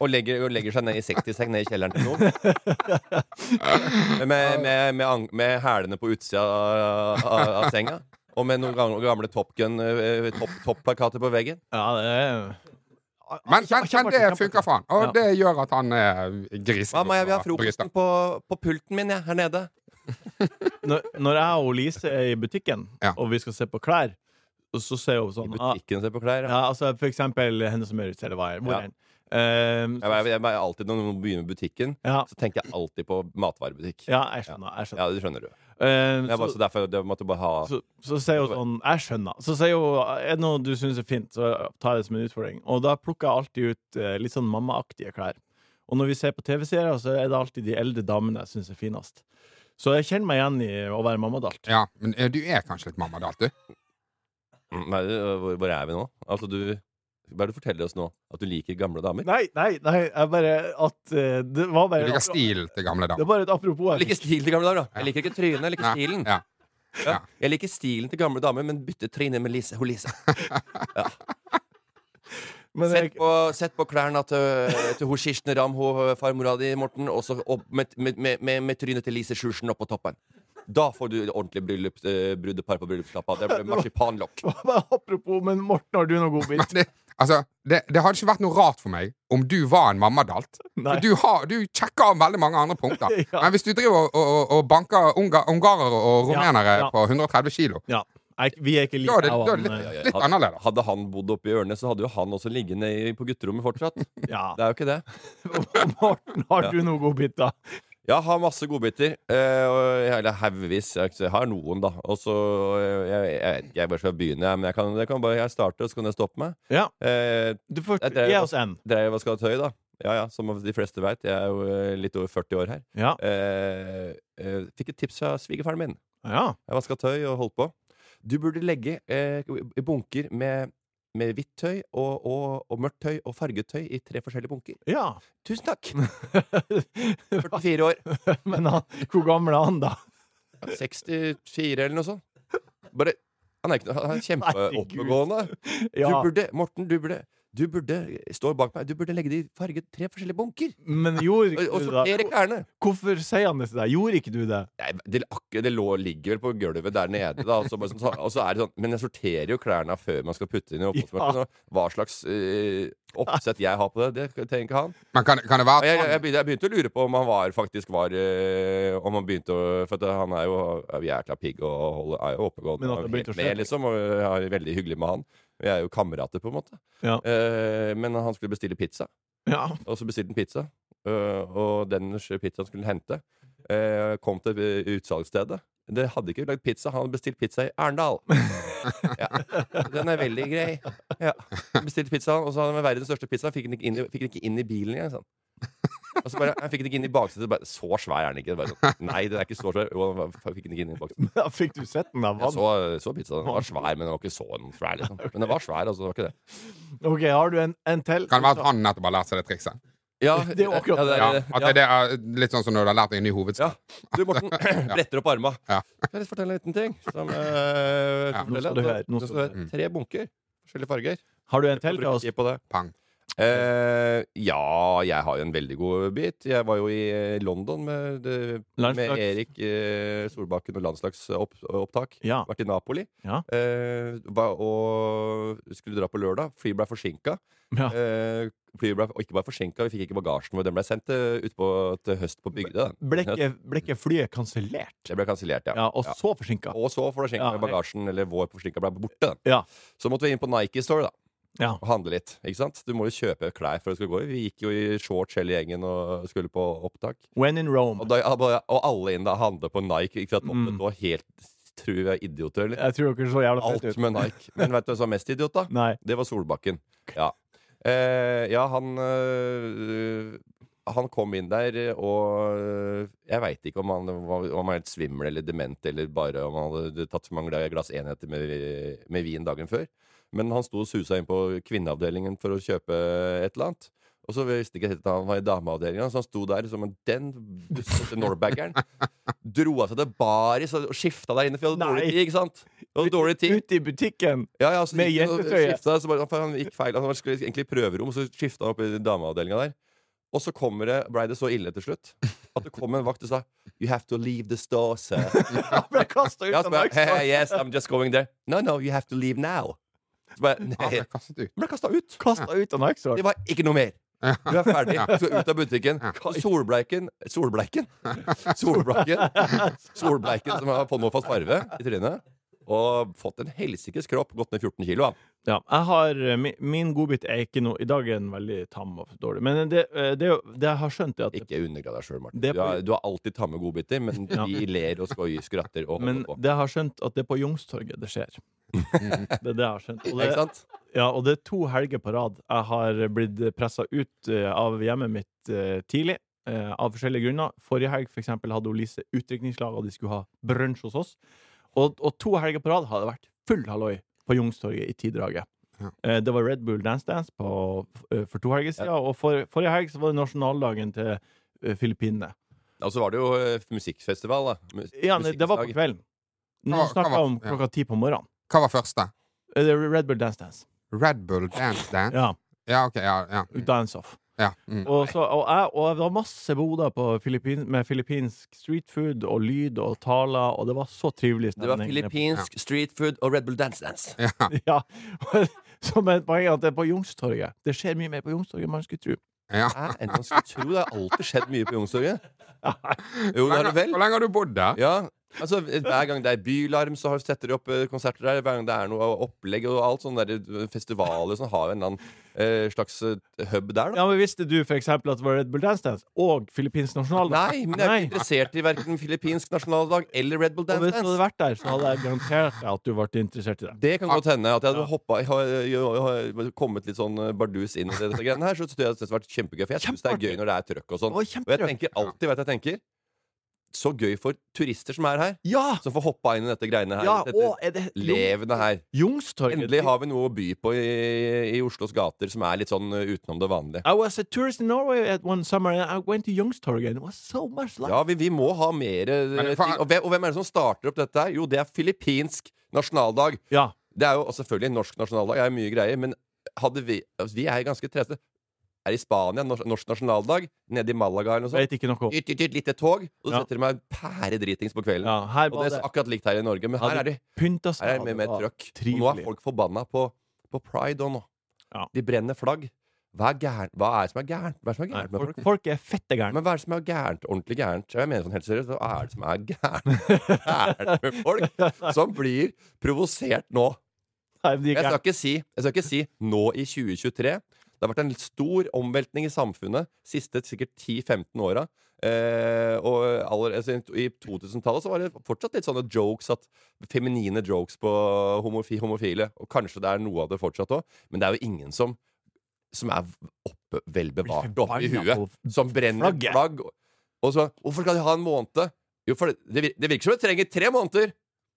[SPEAKER 5] Og legger, og legger seg ned i 60-sekk ned i kjelleren til noen. Med, med, med, ang- med hælene på utsida av, av, av senga. Og med noen gamle, gamle Top Gun eh, topp- topplakater på veggen.
[SPEAKER 2] Ja, det er
[SPEAKER 4] Men,
[SPEAKER 2] Kjempeartig,
[SPEAKER 4] men, men det
[SPEAKER 2] kjempeartig.
[SPEAKER 4] funker for han, og
[SPEAKER 2] Ja.
[SPEAKER 4] det gjør at han er grisete.
[SPEAKER 5] Mamma, jeg vil ha
[SPEAKER 4] og bryter.
[SPEAKER 5] frokosten på, på pulten min, jeg, her nede.
[SPEAKER 2] Når, når jeg og Lise er i butikken,
[SPEAKER 4] Ja.
[SPEAKER 2] og vi skal se på klær, så ser hun sånn ah,
[SPEAKER 5] Butikken ser på klær. Ja.
[SPEAKER 2] ja, altså, For eksempel henne som gjør ut, eller hva er hvor
[SPEAKER 5] Ja.
[SPEAKER 2] er den? Ehm,
[SPEAKER 5] Jeg, jeg, jeg, jeg, alltid Når noen begynner med butikken,
[SPEAKER 2] ja,
[SPEAKER 5] så tenker jeg alltid på matvarebutikk.
[SPEAKER 2] ja, jeg skjønner. Jeg skjønner.
[SPEAKER 5] Ja, det skjønner du.
[SPEAKER 2] Ehm,
[SPEAKER 5] Det er bare så derfor det måtte bare ha
[SPEAKER 2] så, så sier hun sånn Jeg skjønner. Så sier hun er det noe du syns er fint, så tar jeg det som en utfordring. Og da plukker jeg alltid ut eh, litt sånn mammaaktige klær. Og når vi ser på TV-serier, så er det alltid de eldre damene jeg syns er finest. Så jeg kjenner meg igjen i å være mammadalt.
[SPEAKER 4] Ja, men eh, du er kanskje litt mammadalt, du.
[SPEAKER 5] Mm, Nei, øh, hvor, hvor er vi nå? Altså, du Hva er det du forteller oss nå? At du liker gamle damer?
[SPEAKER 2] Nei, nei, nei, jeg bare At eh, det var
[SPEAKER 4] Du
[SPEAKER 2] bare
[SPEAKER 4] liker stilen til gamle
[SPEAKER 2] Det
[SPEAKER 4] damer.
[SPEAKER 2] var bare et apropos.
[SPEAKER 5] Jeg
[SPEAKER 2] Jeg
[SPEAKER 5] liker
[SPEAKER 2] fikk.
[SPEAKER 5] stilen til gamle damer, da. Jeg liker ikke trynet, jeg liker
[SPEAKER 4] Ja,
[SPEAKER 5] stilen.
[SPEAKER 4] Ja.
[SPEAKER 5] Ja. Jeg liker stilen til gamle damer, men bytter trynet med Lise. Hun Lise.
[SPEAKER 2] Men
[SPEAKER 5] Sett
[SPEAKER 2] jeg, [laughs]
[SPEAKER 5] på, sett på klærne til, til hun Kirsten Ramm, hun farmora di, Morten, og så opp med, med, med, med, med trynet til Lise Sjursen oppå toppen. Da får du ordentlig bryllup, eh, brudepar på bryllupslappa. Det blir marsipanlokk.
[SPEAKER 2] bare apropos, men Morten, har du noe
[SPEAKER 4] Men [laughs]
[SPEAKER 2] godbit?
[SPEAKER 4] det, altså, det, det hadde ikke vært noe rart for meg om du var en mammadalt.
[SPEAKER 2] Nei.
[SPEAKER 4] For du, har, du sjekker av veldig mange andre punkter.
[SPEAKER 2] [laughs] Ja.
[SPEAKER 4] Men hvis du driver og, og, og banker unga, ungarere og
[SPEAKER 2] Ja,
[SPEAKER 4] rumenere
[SPEAKER 2] ja.
[SPEAKER 4] på 130 kilo,
[SPEAKER 2] Ja. Nei, vi er ikke
[SPEAKER 4] da er
[SPEAKER 2] like
[SPEAKER 4] det, da er det
[SPEAKER 2] han, eh,
[SPEAKER 4] litt, litt annerledes.
[SPEAKER 5] Hadde han bodd oppe i ørene, så hadde jo han også liggende i- på gutterommet fortsatt. Det
[SPEAKER 2] Ja.
[SPEAKER 5] er jo ikke det.
[SPEAKER 2] [laughs] Morten, har du noe godbit, da?
[SPEAKER 5] Ja, har masse godbiter. eh, og- Eller haugevis. Jeg jeg har noen, da. Og så eh, Jeg jeg vet ikke jeg bare skal begynne, jeg, men jeg kan, jeg kan bare jeg starter, og så kan jeg stoppe meg.
[SPEAKER 2] Ja.
[SPEAKER 5] Eh,
[SPEAKER 2] Du får
[SPEAKER 5] Jeg drev-
[SPEAKER 2] gi oss en.
[SPEAKER 5] Dreier hva skal ha tøy, da. Ja, ja, som de fleste veit. Jeg er jo eh, litt over 40 år her.
[SPEAKER 2] Ja.
[SPEAKER 5] Eh, eh, fikk et tips fra svigerfaren min.
[SPEAKER 2] ja.
[SPEAKER 5] Jeg vaska tøy og holdt på. Du burde legge eh, bunker med, med hvitt tøy og, og, og mørkt tøy og farget tøy i tre forskjellige bunker.
[SPEAKER 2] ja. [laughs]
[SPEAKER 5] Tusen takk! 44 år.
[SPEAKER 2] Men han, hvor gammel er han, da?
[SPEAKER 5] 64 eller noe sånt. Bare Han er, ikke, han er
[SPEAKER 2] Herregud.
[SPEAKER 5] kjempeoppegående. Du
[SPEAKER 2] Ja,
[SPEAKER 5] burde, Morten, du burde du burde, står bak meg, du burde legge de farget tre forskjellige bunker.
[SPEAKER 2] men gjorde
[SPEAKER 5] Og,
[SPEAKER 2] ikke
[SPEAKER 5] og
[SPEAKER 2] du det?
[SPEAKER 5] sortere klærne.
[SPEAKER 2] Hvorfor sier han det til deg? Gjorde ikke du det?
[SPEAKER 5] Nei, det, akkur- det lå, ligger vel på gulvet der nede, da. Og så, bare sånn, så- og så er det sånn Men jeg sorterer jo klærne før man skal putte inn i oppvaskmaskinen. så Hva slags eh, oppsett jeg har på det, det tenker han.
[SPEAKER 4] Men kan, kan
[SPEAKER 5] Og
[SPEAKER 4] det være
[SPEAKER 5] Jeg,
[SPEAKER 4] at
[SPEAKER 5] jeg, jeg,
[SPEAKER 4] han,
[SPEAKER 5] begynte, jeg begynte å lure på om han var faktisk var eh, Om han begynte å For at han er jo er jækla pigg og holder, er
[SPEAKER 2] Men
[SPEAKER 5] jo oppegående
[SPEAKER 2] at
[SPEAKER 5] og
[SPEAKER 2] det begynte å
[SPEAKER 5] helt med,
[SPEAKER 2] skje.
[SPEAKER 5] liksom. Og jeg er veldig hyggelig med han. Vi er jo kamerater, på en måte.
[SPEAKER 2] Ja.
[SPEAKER 5] Eh, men han skulle bestille pizza.
[SPEAKER 2] Ja.
[SPEAKER 5] Og så bestilte han pizza. øh, og den pizzaen skulle han hente. øh, kom til øh, utsalgsstedet. Det hadde ikke lagd pizza. Han hadde bestilt pizza i Arendal. Ja. Den er veldig grei. Ja. Bestilte pizza, og så hadde han verdens største pizza. Fikk den ikke inn i, fikk den ikke inn i bilen engang. sa han. Og så bare, Han fikk den ikke inn i baksetet. Bare, så svær er den ikke. Bare, sånn, Nei, den er ikke så svær. Jo, han bare, fikk den ikke inn i baksetet.
[SPEAKER 2] Da fikk du sett den, da.
[SPEAKER 5] Jeg
[SPEAKER 2] Hva-
[SPEAKER 5] så, så pizzaen. Den var svær, men den var ikke så svær. Liksom. Men den var svær, altså. Det var ikke det.
[SPEAKER 2] OK, har du en, en til?
[SPEAKER 4] kan det være at han nettopp har lært seg det trikset?
[SPEAKER 5] Ja,
[SPEAKER 2] Det er jo akkurat det.
[SPEAKER 4] Ja, at det er Litt sånn som når du har lært deg en ny hovedstad.
[SPEAKER 5] Ja. Du, Morten, bretter opp arma.
[SPEAKER 4] [clears throat] Ja.
[SPEAKER 5] Kan jeg fortelle en liten ting? Som, eh,
[SPEAKER 4] Ja.
[SPEAKER 5] fortelle
[SPEAKER 2] Nå skal
[SPEAKER 5] at
[SPEAKER 2] du
[SPEAKER 5] det-
[SPEAKER 2] høre, nå skal du
[SPEAKER 5] det skal være Tre bunker. Forskjellige farger.
[SPEAKER 2] Har du en til til
[SPEAKER 5] Bruker
[SPEAKER 2] oss?
[SPEAKER 5] tid på det.
[SPEAKER 4] Pang.
[SPEAKER 5] Eh, ja, jeg har jo en veldig god bit. Jeg var jo i eh, London med, det- med
[SPEAKER 2] Landslags.
[SPEAKER 5] Erik eh, Solbakken og landslagsopptak.
[SPEAKER 2] Ja.
[SPEAKER 5] Vært i Napoli.
[SPEAKER 2] Ja.
[SPEAKER 5] Eh, var, og skulle dra på lørdag. Flyet ble forsinka.
[SPEAKER 2] Ja.
[SPEAKER 5] Eh, flyet ble og ikke bare forsinka, vi fikk ikke bagasjen vår. Den ble sendt eh, utpå til høst på Bygdøy.
[SPEAKER 2] Ble ikke, ble ikke flyet kansellert?
[SPEAKER 5] Det ble kansellert, ja.
[SPEAKER 2] Ja, og så forsinka.
[SPEAKER 5] Og så forsinka
[SPEAKER 2] Ja,
[SPEAKER 5] bagasjen, eller vår forsinka ble borte. da.
[SPEAKER 2] Ja.
[SPEAKER 5] Så måtte vi inn på Nike Store da
[SPEAKER 2] Ja.
[SPEAKER 5] og handle litt. ikke sant? Du må jo kjøpe klær for å skulle gå i. Vi gikk jo i shorts hele gjengen og skulle på opptak.
[SPEAKER 2] When in
[SPEAKER 5] Og,
[SPEAKER 2] Rome.
[SPEAKER 5] da, og alle inn da handla på Nike. Ikke sant?
[SPEAKER 2] Mm.
[SPEAKER 5] Oppe, var helt Tror vi er idioter, eller?
[SPEAKER 2] Jeg tror dere så jævla
[SPEAKER 5] Alt
[SPEAKER 2] fett ut.
[SPEAKER 5] med Nike. Men vet du hvem som er mest idiot, da?
[SPEAKER 2] Nei.
[SPEAKER 5] Det var Solbakken. Ja, eh, ja han eh, Han kom inn der, og eh, jeg veit ikke om han var om han var helt svimmel eller dement, eller bare om han hadde tatt for mange glass enheter med, med vin dagen før. Men han sto og susa inn på kvinneavdelingen for å kjøpe et eller annet. Og så visste ikke jeg helt at han var i dameavdelinga, så han sto der som en den bustete norbaggeren. Dro av seg til baris og skifta der inne, for jeg hadde
[SPEAKER 2] Nei.
[SPEAKER 5] dårlig tid, ikke sant? Det var dårlig tid.
[SPEAKER 2] Ute i butikken. [laughs]
[SPEAKER 5] Ja, ja, så
[SPEAKER 2] Med
[SPEAKER 5] gikk han og
[SPEAKER 2] jentetrøye.
[SPEAKER 5] skifta, så bare, for han gikk feil. Han skulle egentlig i prøverom, så skifta han opp i dameavdelinga der. Og så kommer det, ble det så ille til slutt at det kom en vakt og sa You have to leave the store, sir.
[SPEAKER 2] Han ble kasta ut
[SPEAKER 5] Ja,
[SPEAKER 2] av
[SPEAKER 5] så bare, «Hey, hey,
[SPEAKER 2] Nike.
[SPEAKER 5] yes, I'm just going there. No, no, you have to leave now. Så bare,
[SPEAKER 4] Han
[SPEAKER 5] nei,
[SPEAKER 4] ble Ah, kastet ut.
[SPEAKER 5] Han ble kasta ut.
[SPEAKER 2] Kastet ut av Nike Store.
[SPEAKER 5] Det var ikke noe mer. Du er ferdig. Du skal ut av butikken. Og Solbleiken Solbleiken? Solbleiken, Solbleiken som har på nå fått farve i trynet. Og fått en helsikes kropp. Gått ned 14 kilo. han.
[SPEAKER 2] Ja, jeg har, eh, mi- min godbit er ikke noe I dag er den veldig tam og dårlig. Men det, eh, det, er jo- det jeg har skjønt, er at
[SPEAKER 5] Ikke undergrad deg sjøl, Martin.
[SPEAKER 2] Det er
[SPEAKER 5] Du,
[SPEAKER 2] på-
[SPEAKER 5] har, du har alltid tamme godbiter, men
[SPEAKER 2] [laughs] Ja.
[SPEAKER 5] de ler og skoy, skratter og holder
[SPEAKER 2] Men
[SPEAKER 5] på.
[SPEAKER 2] det jeg har skjønt at det er på Youngstorget det
[SPEAKER 4] [laughs]
[SPEAKER 2] skjer. Det er det jeg har skjønt. Og
[SPEAKER 5] Ikke
[SPEAKER 2] det,
[SPEAKER 5] sant?
[SPEAKER 2] ja, og det er to helger på rad jeg har blitt pressa ut eh, av hjemmet mitt eh, tidlig. eh, Av forskjellige grunner. Forrige helg for eksempel, hadde hun Lise utdrikningslag, og de skulle ha brunsj hos oss. Og, og to helger på rad har det vært full halloi på Youngstorget i Tiddraget.
[SPEAKER 4] Ja.
[SPEAKER 2] Eh, Det var Red Bull Dance Dance på, eh, for to helger siden, og for, forrige helg så var det nasjonaldagen til eh, Filippinene.
[SPEAKER 5] Og så var det jo eh, musikkfestival, da. Mus
[SPEAKER 2] Ja, nei, det var på
[SPEAKER 5] musikkdag.
[SPEAKER 2] kvelden. Nå
[SPEAKER 4] Hva- hva
[SPEAKER 2] snakker
[SPEAKER 4] var-
[SPEAKER 2] jeg om
[SPEAKER 4] ja.
[SPEAKER 2] klokka ti på morgenen.
[SPEAKER 4] Hva var første?
[SPEAKER 2] Eh, Det er Red Bull Dance Dance.
[SPEAKER 4] Red Bull Dance Dance?
[SPEAKER 2] Ja.
[SPEAKER 4] Ja, ok. Ja. ja.
[SPEAKER 5] Mm.
[SPEAKER 2] Dance Off.
[SPEAKER 4] ja. Mm.
[SPEAKER 2] Og, så, og, jeg, og det var masse boder på Filippin, med filippinsk street food og lyd og taler, og det var så trivelig.
[SPEAKER 5] Det var
[SPEAKER 2] stemning.
[SPEAKER 5] filippinsk street food og Red Bull Dance Dance.
[SPEAKER 4] ja.
[SPEAKER 2] [laughs] Ja. [laughs] Som et poeng at det er på Youngstorget. Det skjer mye mer på Youngstorget enn man skulle tro.
[SPEAKER 4] ja.
[SPEAKER 5] Hæ? Enn
[SPEAKER 2] [laughs]
[SPEAKER 5] man skulle tro. Det har alltid skjedd mye på Youngstorget. Jo, det har det
[SPEAKER 4] Hvor
[SPEAKER 5] vel.
[SPEAKER 4] lenge har du bodd der?
[SPEAKER 5] Ja, Altså, Hver gang det er bylarm, så har- setter de opp eh, konserter der. Hver gang det er noe opplegg og alt sånn der, eh, festivaler og sånn, har jo en eller annen eh, slags eh, hub der, da.
[SPEAKER 2] Ja, men Visste du for eksempel at det var Red Bull Dance Dance og filippinsk nasjonaldag?
[SPEAKER 5] Nei, men jeg er
[SPEAKER 2] Nei.
[SPEAKER 5] ikke interessert i verken filippinsk nasjonaldag eller Red Bull
[SPEAKER 2] Og
[SPEAKER 5] Dance Sånn.
[SPEAKER 2] hvis du hadde
[SPEAKER 5] Dance.
[SPEAKER 2] vært der, så hadde jeg garantert deg at du ble interessert i det.
[SPEAKER 5] Det kan godt hende at jeg hadde hoppa, jeg har- jeg har kommet litt sånn eh, bardus inn i dette greiene her. Så tror jeg det hadde vært kjempegøy. For jeg syns det er gøy når det er trøkk og sånn.
[SPEAKER 2] Det var
[SPEAKER 5] Og jeg
[SPEAKER 2] kjempetrøkk.
[SPEAKER 5] tenker alltid, vet du, jeg tenker Så gøy for turister som er her,
[SPEAKER 2] Ja!
[SPEAKER 5] som får hoppa inn i dette greiene her.
[SPEAKER 2] ja
[SPEAKER 5] dette
[SPEAKER 2] og er det
[SPEAKER 5] levende her.
[SPEAKER 2] Youngstorget?
[SPEAKER 5] Endelig har vi noe å by på i, i Oslos gater som er litt sånn eh, utenom det vanlige.
[SPEAKER 2] I was a tourist in Norway at one summer and I went to Youngstorget and it was so much like
[SPEAKER 5] Ja, vi, vi må ha mer eh,
[SPEAKER 4] Men det
[SPEAKER 5] ting.
[SPEAKER 4] faen-
[SPEAKER 5] Og hvem, og hvem er det som starter opp dette her? Jo, det er filippinsk nasjonaldag.
[SPEAKER 2] Ja.
[SPEAKER 5] Det er jo og selvfølgelig en norsk nasjonaldag, er mye greier, men hadde vi altså, Vi er ganske treste. Er i Spania, norsk, norsk nasjonaldag, nede i Malaga eller noe sånt.
[SPEAKER 2] Vet ikke noe om.
[SPEAKER 5] Yt, yt, yt, lite tog, og så
[SPEAKER 2] Ja.
[SPEAKER 5] setter de meg pæredritings på kvelden.
[SPEAKER 2] Ja, her
[SPEAKER 5] Og
[SPEAKER 2] var
[SPEAKER 5] det er
[SPEAKER 2] det
[SPEAKER 5] så akkurat likt her i Norge, men her
[SPEAKER 2] Hadde
[SPEAKER 5] er det,
[SPEAKER 2] pynta seg.
[SPEAKER 5] her er det mye mer
[SPEAKER 2] var
[SPEAKER 5] trøkk. Og nå er
[SPEAKER 2] Trivelig.
[SPEAKER 5] folk forbanna på, på pride òg, nå.
[SPEAKER 2] Ja.
[SPEAKER 5] De brenner flagg. Hva er, gærent- hva er det som er gærent? Hva er det som er
[SPEAKER 2] Nei,
[SPEAKER 5] gærent med
[SPEAKER 2] folk,
[SPEAKER 5] folk?
[SPEAKER 2] folk er fette gærne.
[SPEAKER 5] Men hva er det som er gærent? Ordentlig gærent? Jeg mener sånn helt seriøst, hva er det som er
[SPEAKER 2] [laughs]
[SPEAKER 5] gærent, gærent med folk som blir provosert nå?
[SPEAKER 2] Nei, men de er
[SPEAKER 5] Jeg skal,
[SPEAKER 2] gærne.
[SPEAKER 5] ikke si, jeg skal ikke si nå i 2023. Det har vært en stor omveltning i samfunnet siste sikkert 10-15 åra. Eh, og aller, altså, I 2000-tallet så var det fortsatt litt sånne jokes at feminine jokes på homofi, homofile. Og kanskje det er noe av det fortsatt òg, men det er jo ingen som Som er oppe, velbevart oppe i
[SPEAKER 2] Forbanna
[SPEAKER 5] huet.
[SPEAKER 2] på
[SPEAKER 5] Som brenner
[SPEAKER 2] flagget.
[SPEAKER 5] flagg. Og så Hvorfor skal de ha en måned? Jo, for det, det, vir- det virker som det trenger tre måneder.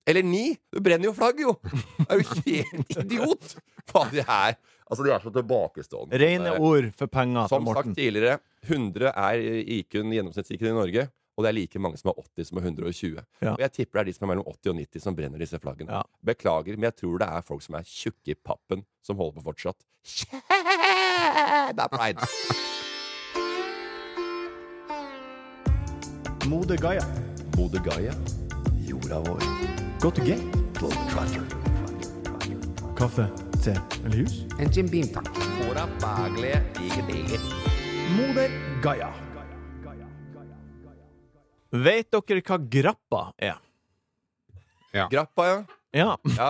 [SPEAKER 5] Eller ni! Du brenner jo flagg, jo! Det er jo helt [laughs] idiot! Faen, de her Altså, de er så tilbakestående.
[SPEAKER 2] Rene
[SPEAKER 5] Det er-
[SPEAKER 2] ord for penger til
[SPEAKER 5] Som
[SPEAKER 2] Morten.
[SPEAKER 5] sagt tidligere, 100 er IQ-en, gjennomsnitts-IQ-en i Norge. Og det er like mange som er 80 som er 120.
[SPEAKER 2] Ja.
[SPEAKER 5] Og jeg tipper det er de som er mellom 80 og 90 som brenner disse flaggene.
[SPEAKER 2] Ja.
[SPEAKER 5] Beklager, men jeg tror det er folk som er tjukke i pappen, som holder på fortsatt. Det er pride.
[SPEAKER 2] Mode Gaia.
[SPEAKER 5] Bodø Gaia, jorda vår.
[SPEAKER 2] Go to gate. Kaffe, te eller hus?
[SPEAKER 3] En Jim Beam, takk.
[SPEAKER 5] Hora bagle, ikke
[SPEAKER 2] Moder Gaia. Vet dere hva grappa er?
[SPEAKER 5] Grappa, ja.
[SPEAKER 2] Ja, [laughs]
[SPEAKER 5] ja.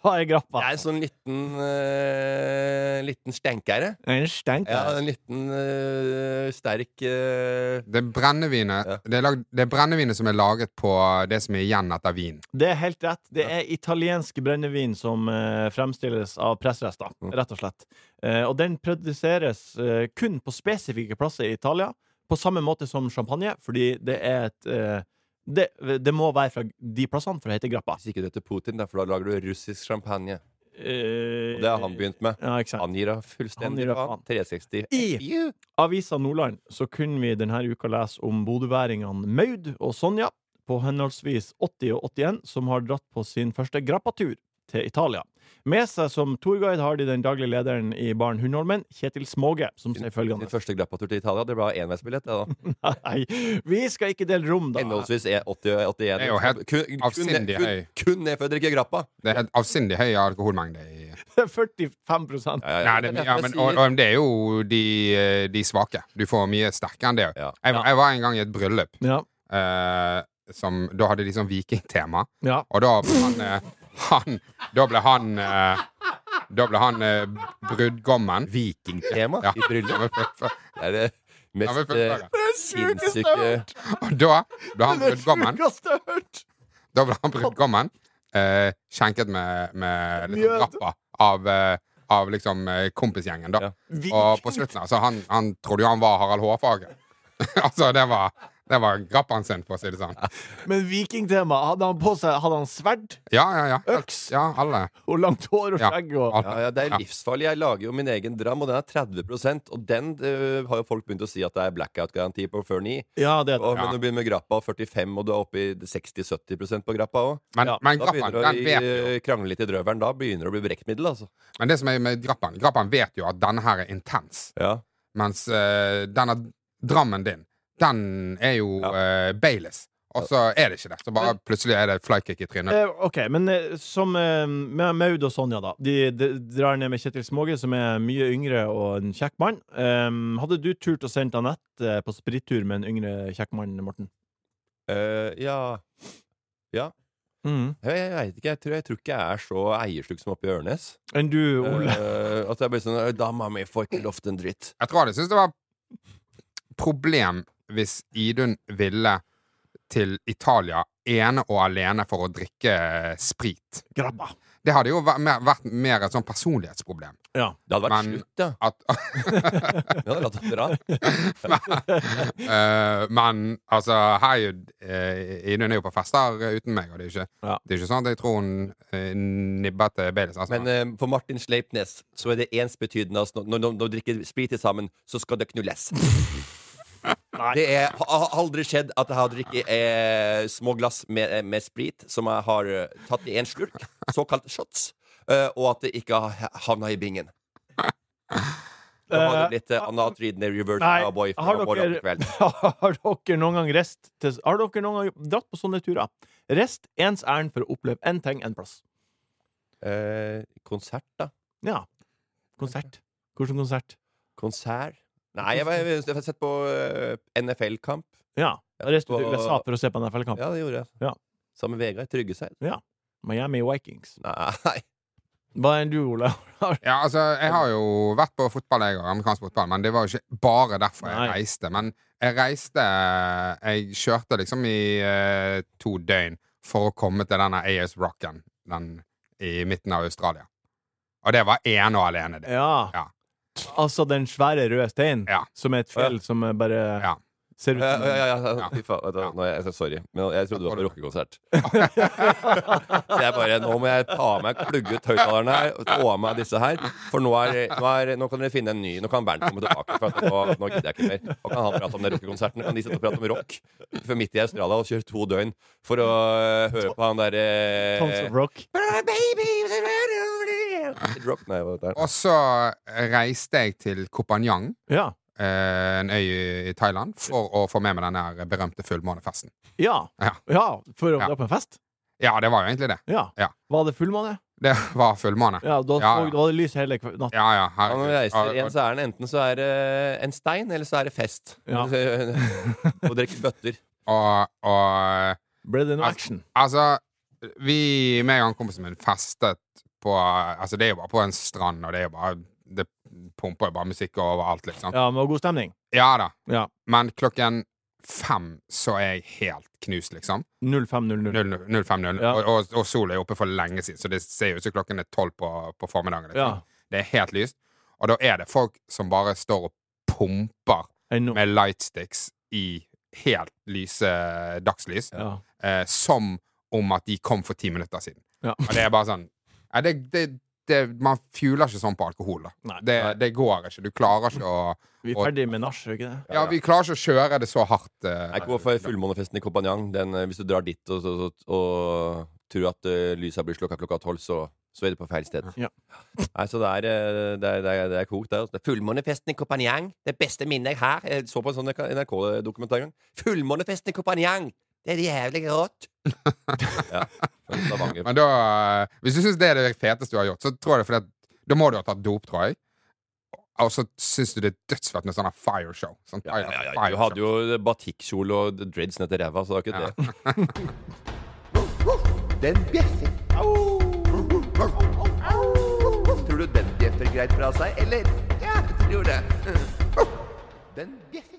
[SPEAKER 2] hva er grappa?
[SPEAKER 5] Det er en sånn liten eh, Liten stenkere.
[SPEAKER 2] En stenk.
[SPEAKER 5] Ja, en liten eh, sterk eh,
[SPEAKER 4] Det er brennevinet
[SPEAKER 5] Ja.
[SPEAKER 4] det, er lagd, det er brennevinet som er laget på det som er igjen etter vin.
[SPEAKER 2] Det er helt rett. Det er italiensk brennevin som eh, fremstilles av pressrester,
[SPEAKER 5] Mm.
[SPEAKER 2] rett og slett. Eh, og den produseres eh, kun på spesifikke plasser i Italia, på samme måte som champagne, fordi det er et eh, det, det må være fra de plassene for å hete grappa.
[SPEAKER 5] Hvis ikke du heter Putin, da, for da lager du russisk champagne.
[SPEAKER 2] Eh,
[SPEAKER 5] Og det har han begynt med.
[SPEAKER 2] Ja, ikke sant.
[SPEAKER 5] Han gir da
[SPEAKER 2] Han
[SPEAKER 5] fullstendig
[SPEAKER 2] gir da faen.
[SPEAKER 5] faen. 360.
[SPEAKER 2] I-
[SPEAKER 5] Iu.
[SPEAKER 2] Avisa Nordland så kunne vi denne uka lese om bodøværingene Maud og Sonja på henholdsvis 80 og 81, som har dratt på sin første grappatur til Italia. Med seg som tourguide har de den daglige lederen i baren Hundholmen, Kjetil Småge, som sier
[SPEAKER 5] Din
[SPEAKER 2] følgende
[SPEAKER 5] første grappatur til Italia, det ble enveisbillett.
[SPEAKER 4] [laughs]
[SPEAKER 5] det da.
[SPEAKER 2] [laughs] Nei, vi skal ikke dele rom, da. [laughs]
[SPEAKER 5] Henholdsvis er 80 og 81.
[SPEAKER 4] Det er jo helt
[SPEAKER 5] Kun- kun-
[SPEAKER 4] avsindig
[SPEAKER 5] kun-
[SPEAKER 4] høy.
[SPEAKER 5] Kun ned for å drikke grappa.
[SPEAKER 4] Det er helt avsindig høy alkoholmengde. I.
[SPEAKER 2] 45
[SPEAKER 5] Ja, ja,
[SPEAKER 4] Nei,
[SPEAKER 5] ja.
[SPEAKER 4] det,
[SPEAKER 5] Eh, Det er
[SPEAKER 4] ja,
[SPEAKER 5] derfor
[SPEAKER 4] men,
[SPEAKER 5] jeg
[SPEAKER 4] og,
[SPEAKER 5] sier-
[SPEAKER 4] og det er jo de, eh, de svake. Du får mye sterkere enn det.
[SPEAKER 5] Ja.
[SPEAKER 4] Jeg, var- jeg var en gang i et bryllup.
[SPEAKER 2] Ja.
[SPEAKER 4] eh, som, da hadde de sånn vikingtema.
[SPEAKER 2] ja.
[SPEAKER 4] Og da ble han, eh, han Da ble han eh, Da ble han eh, brudgommen. [laughs]
[SPEAKER 5] Vikingtema
[SPEAKER 4] Ja.
[SPEAKER 5] i bryllup. Det er det
[SPEAKER 4] Ja, men
[SPEAKER 5] mest
[SPEAKER 4] for-
[SPEAKER 5] eh, sinnssyke
[SPEAKER 4] Og da ble han brudgommen.
[SPEAKER 2] sjukeste jeg har hørt!
[SPEAKER 4] Da ble han brudgommen eh, skjenket med, med liksom,
[SPEAKER 2] Mjød.
[SPEAKER 4] rappa av, eh, av liksom eh, kompisgjengen, da.
[SPEAKER 5] Ja.
[SPEAKER 4] Og på slutten, altså, han, han trodde jo han var Harald Hårfagre. [laughs] altså, det var, det var grappaen sin, for å si det sånn.
[SPEAKER 2] Men vikingtema, hadde han på seg Hadde han sverd,
[SPEAKER 4] Ja, ja, ja.
[SPEAKER 2] øks
[SPEAKER 4] Ja, alle.
[SPEAKER 2] og langt hår og
[SPEAKER 4] Ja.
[SPEAKER 2] skjegg og
[SPEAKER 4] alle.
[SPEAKER 5] Ja, ja, det er livsfarlig. Jeg lager jo min egen dram, og den er 30 og den eh, har jo folk begynt å si at det er blackout-garanti på før 9.
[SPEAKER 2] Ja, det er det.
[SPEAKER 5] Og, Men når du begynner med grappa 45, og du er oppe i 60-70 på grappa òg,
[SPEAKER 4] Men,
[SPEAKER 2] Ja,
[SPEAKER 4] men
[SPEAKER 5] da
[SPEAKER 4] grappaen,
[SPEAKER 5] begynner du å
[SPEAKER 4] den
[SPEAKER 5] i-
[SPEAKER 4] vet jo
[SPEAKER 5] krangle litt i drøvelen. Da begynner det å bli brekkmiddel, altså.
[SPEAKER 4] Men det som er med grappaen, grappaen vet jo at denne her er intens.
[SPEAKER 5] Ja.
[SPEAKER 4] Mens eh, denne drammen din, den er jo
[SPEAKER 5] Ja.
[SPEAKER 4] eh, Baileys. Og så er det ikke det. Så bare plutselig er det flykick i trynet.
[SPEAKER 2] Eh, ok, men eh, som eh, med Maud og Sonja, da. De, de drar ned med Kjetil Småge, som er mye yngre og en kjekk mann. Eh, hadde du turt å sende Anette eh, på sprittur med en yngre kjekk mann, Morten?
[SPEAKER 5] Eh, ja Ja.
[SPEAKER 2] Mm.
[SPEAKER 5] Jeg, jeg, vet ikke, jeg tror, jeg tror ikke jeg er så eiersluk som oppe i Ørnes.
[SPEAKER 2] Enn du, Ole?
[SPEAKER 5] Eh, at jeg blir sånn «Øy, Dama mi får ikke lovt en dritt.
[SPEAKER 4] Jeg tror jeg hadde syntes det var problem hvis Idun ville til Italia ene og alene for å drikke eh, sprit.
[SPEAKER 2] Grabba.
[SPEAKER 4] Det hadde jo væ- mer- vært mer et sånn personlighetsproblem.
[SPEAKER 2] Ja.
[SPEAKER 5] Det hadde vært
[SPEAKER 4] Men-
[SPEAKER 5] slutt, ja.
[SPEAKER 4] At, [laughs]
[SPEAKER 5] Vi hadde latt det dra.
[SPEAKER 4] eh, men altså, her er jo eh, Idun er jo på fester eh, uten meg, og det er jo ikke,
[SPEAKER 2] Ja.
[SPEAKER 4] det er jo ikke sånn at jeg tror hun eh, nibber til Baileys. Altså,
[SPEAKER 5] Men eh, for Martin Sleipnes så er det ens betydende altså, når, når, når de drikker sprit sammen, så skal det knulles. Det er, har aldri skjedd at jeg har drukket eh, små glass med, med sprit som jeg har eh, tatt i en slurk, såkalt shots, eh, og at det ikke har havna i bingen. Da var det blitt eh, anatrydende reverse
[SPEAKER 2] Nei,
[SPEAKER 5] cowboy fra
[SPEAKER 2] har
[SPEAKER 5] morgen
[SPEAKER 2] dere-
[SPEAKER 5] til kveld.
[SPEAKER 2] [laughs] Har dere noen gang rest til, Har dere noen gang dratt på sånne turer? Rest ens ærend for å oppleve én ting, én plass.
[SPEAKER 5] Eh, konsert, da?
[SPEAKER 2] Ja. Konsert. Hvordan konsert?
[SPEAKER 5] Konsert? Nei, jeg, var- jeg, jeg har sett på eh, NFL-kamp.
[SPEAKER 2] Ja. Rest ut i
[SPEAKER 5] På-
[SPEAKER 2] USA for å se på NFL-kamp.
[SPEAKER 5] Ja, det gjorde jeg.
[SPEAKER 2] Ja.
[SPEAKER 5] Sammen med Vegard Tryggeseid.
[SPEAKER 2] Miami Vikings.
[SPEAKER 5] Nei
[SPEAKER 2] Hva enn du, Ole?
[SPEAKER 4] Ja, altså, jeg har jo vært på fotball, jeg, og amerikansk fotball, men det var jo ikke bare derfor jeg
[SPEAKER 2] Nei.
[SPEAKER 4] reiste. Men jeg reiste eh, Jeg kjørte liksom i eh, to døgn for å komme til denne AS Rocken, den i midten av Australia. Og det var ene og alene, det.
[SPEAKER 2] [laughs] Ja.
[SPEAKER 4] Ja.
[SPEAKER 2] Altså den svære røde steinen,
[SPEAKER 4] Ja.
[SPEAKER 2] som er et fjell som er bare
[SPEAKER 4] Ja. Eh,
[SPEAKER 2] ser ut
[SPEAKER 5] Ja,
[SPEAKER 2] som
[SPEAKER 5] ja, ja, ja.
[SPEAKER 4] Ja.
[SPEAKER 5] Fy faen. vet du hva, Nå, er jeg, sorry, men jeg trodde det var på rockekonsert. Så jeg bare Nå må jeg ta av meg plugge ut høyttalerne her og ta av meg disse her. For nå, er, nå, er, nå kan dere finne en ny. Nå kan Bernt komme tilbake. For at nå, nå gidder jeg ikke mer. Nå kan han prate om den rockekonserten. Kan de sitte og prate om rock? For midt i Australia og kjøre to døgn for å eh, høre på han derre
[SPEAKER 4] eh,
[SPEAKER 2] Tons of Rock.
[SPEAKER 5] Rock? Nei, hva det er.
[SPEAKER 4] Og så reiste jeg til Kopanjang,
[SPEAKER 2] Ja.
[SPEAKER 4] eh, en øy i Thailand, for å få med meg den der berømte fullmånefesten.
[SPEAKER 2] Ja.
[SPEAKER 4] Ja.
[SPEAKER 2] ja. For å
[SPEAKER 4] Ja.
[SPEAKER 2] dra på en fest?
[SPEAKER 4] Ja, det var jo egentlig det.
[SPEAKER 2] Ja.
[SPEAKER 4] Ja.
[SPEAKER 2] Var det fullmåne?
[SPEAKER 4] Det var fullmåne.
[SPEAKER 2] Ja, da så-
[SPEAKER 4] Ja,
[SPEAKER 2] da
[SPEAKER 4] ja.
[SPEAKER 2] var det lys hele kve- natten.
[SPEAKER 4] Ja, ja,
[SPEAKER 5] Ja, når
[SPEAKER 4] herregud.
[SPEAKER 5] vi reiser
[SPEAKER 4] Og-
[SPEAKER 5] igjen, så er den enten så er det en stein, eller så er det fest. [laughs]
[SPEAKER 2] Ja.
[SPEAKER 5] Og drikke bøtter.
[SPEAKER 4] og, og
[SPEAKER 2] [laughs] Ble det noe
[SPEAKER 4] Altså-
[SPEAKER 2] action?
[SPEAKER 4] Altså, vi, meg og han kompisen min, festet på Altså, det er jo bare på en strand, og det er jo bare Det pumper jo bare musikk overalt, liksom. Ja,
[SPEAKER 2] Ja, med god stemning?
[SPEAKER 4] da.
[SPEAKER 2] Ja.
[SPEAKER 4] Men klokken fem så er jeg helt knust, liksom.
[SPEAKER 2] 0500.
[SPEAKER 4] 00 05.00.
[SPEAKER 2] Ja.
[SPEAKER 4] Og, og, og sola er oppe for lenge siden, så det ser jo ut som klokken er tolv på, på formiddagen. Liksom.
[SPEAKER 2] Ja.
[SPEAKER 4] Det er helt lyst. Og da er det folk som bare står og pumper
[SPEAKER 2] Ennå.
[SPEAKER 4] med lightsticks i helt lyse dagslys
[SPEAKER 2] Ja.
[SPEAKER 4] eh, som om at de kom for ti minutter siden.
[SPEAKER 2] Ja.
[SPEAKER 4] Og det er bare sånn nei, det, det, det, Man fjuler ikke sånn på alkohol. da.
[SPEAKER 2] Nei.
[SPEAKER 4] Det, det går ikke. Du klarer ikke å
[SPEAKER 2] Vi er
[SPEAKER 4] Og-
[SPEAKER 2] ferdig med nach, er vi ikke det?
[SPEAKER 4] Ja, vi klarer ikke å kjøre det så hardt. eh,
[SPEAKER 5] Jeg går for fullmånefesten i Kompanjang. Den, eh, hvis du drar dit og, og, og, og tror at eh, lysa blir slukka klokka tolv, så, så er du på feil sted.
[SPEAKER 2] Ja.
[SPEAKER 5] Nei, så det er, eh, det er, det er, det er kokt, det. altså. Det er Fullmånefesten i Kompanjang. Det beste minnet jeg har. Jeg så på en sånn NRK-dokumentar en gang. Fullmånefesten i Kompanjang! Det er jævlig
[SPEAKER 2] [laughs]
[SPEAKER 5] rått! ja. fra Stavanger.
[SPEAKER 4] Men da eh, Hvis du syns det er det feteste du har gjort, så tror jeg det er fordi at da må du ha tatt dop, tror jeg. Og så syns du det er dødsfett med sånn her fireshow. Sånn
[SPEAKER 5] Ja, ja, ja,
[SPEAKER 4] fireshow.
[SPEAKER 5] Du hadde jo batikkjole og dreads ned til ræva, så det var ikke det.
[SPEAKER 3] Den bjeffer. Tror du den bjeffer greit fra seg, eller? Ja, jeg tror det. Den bjeffer.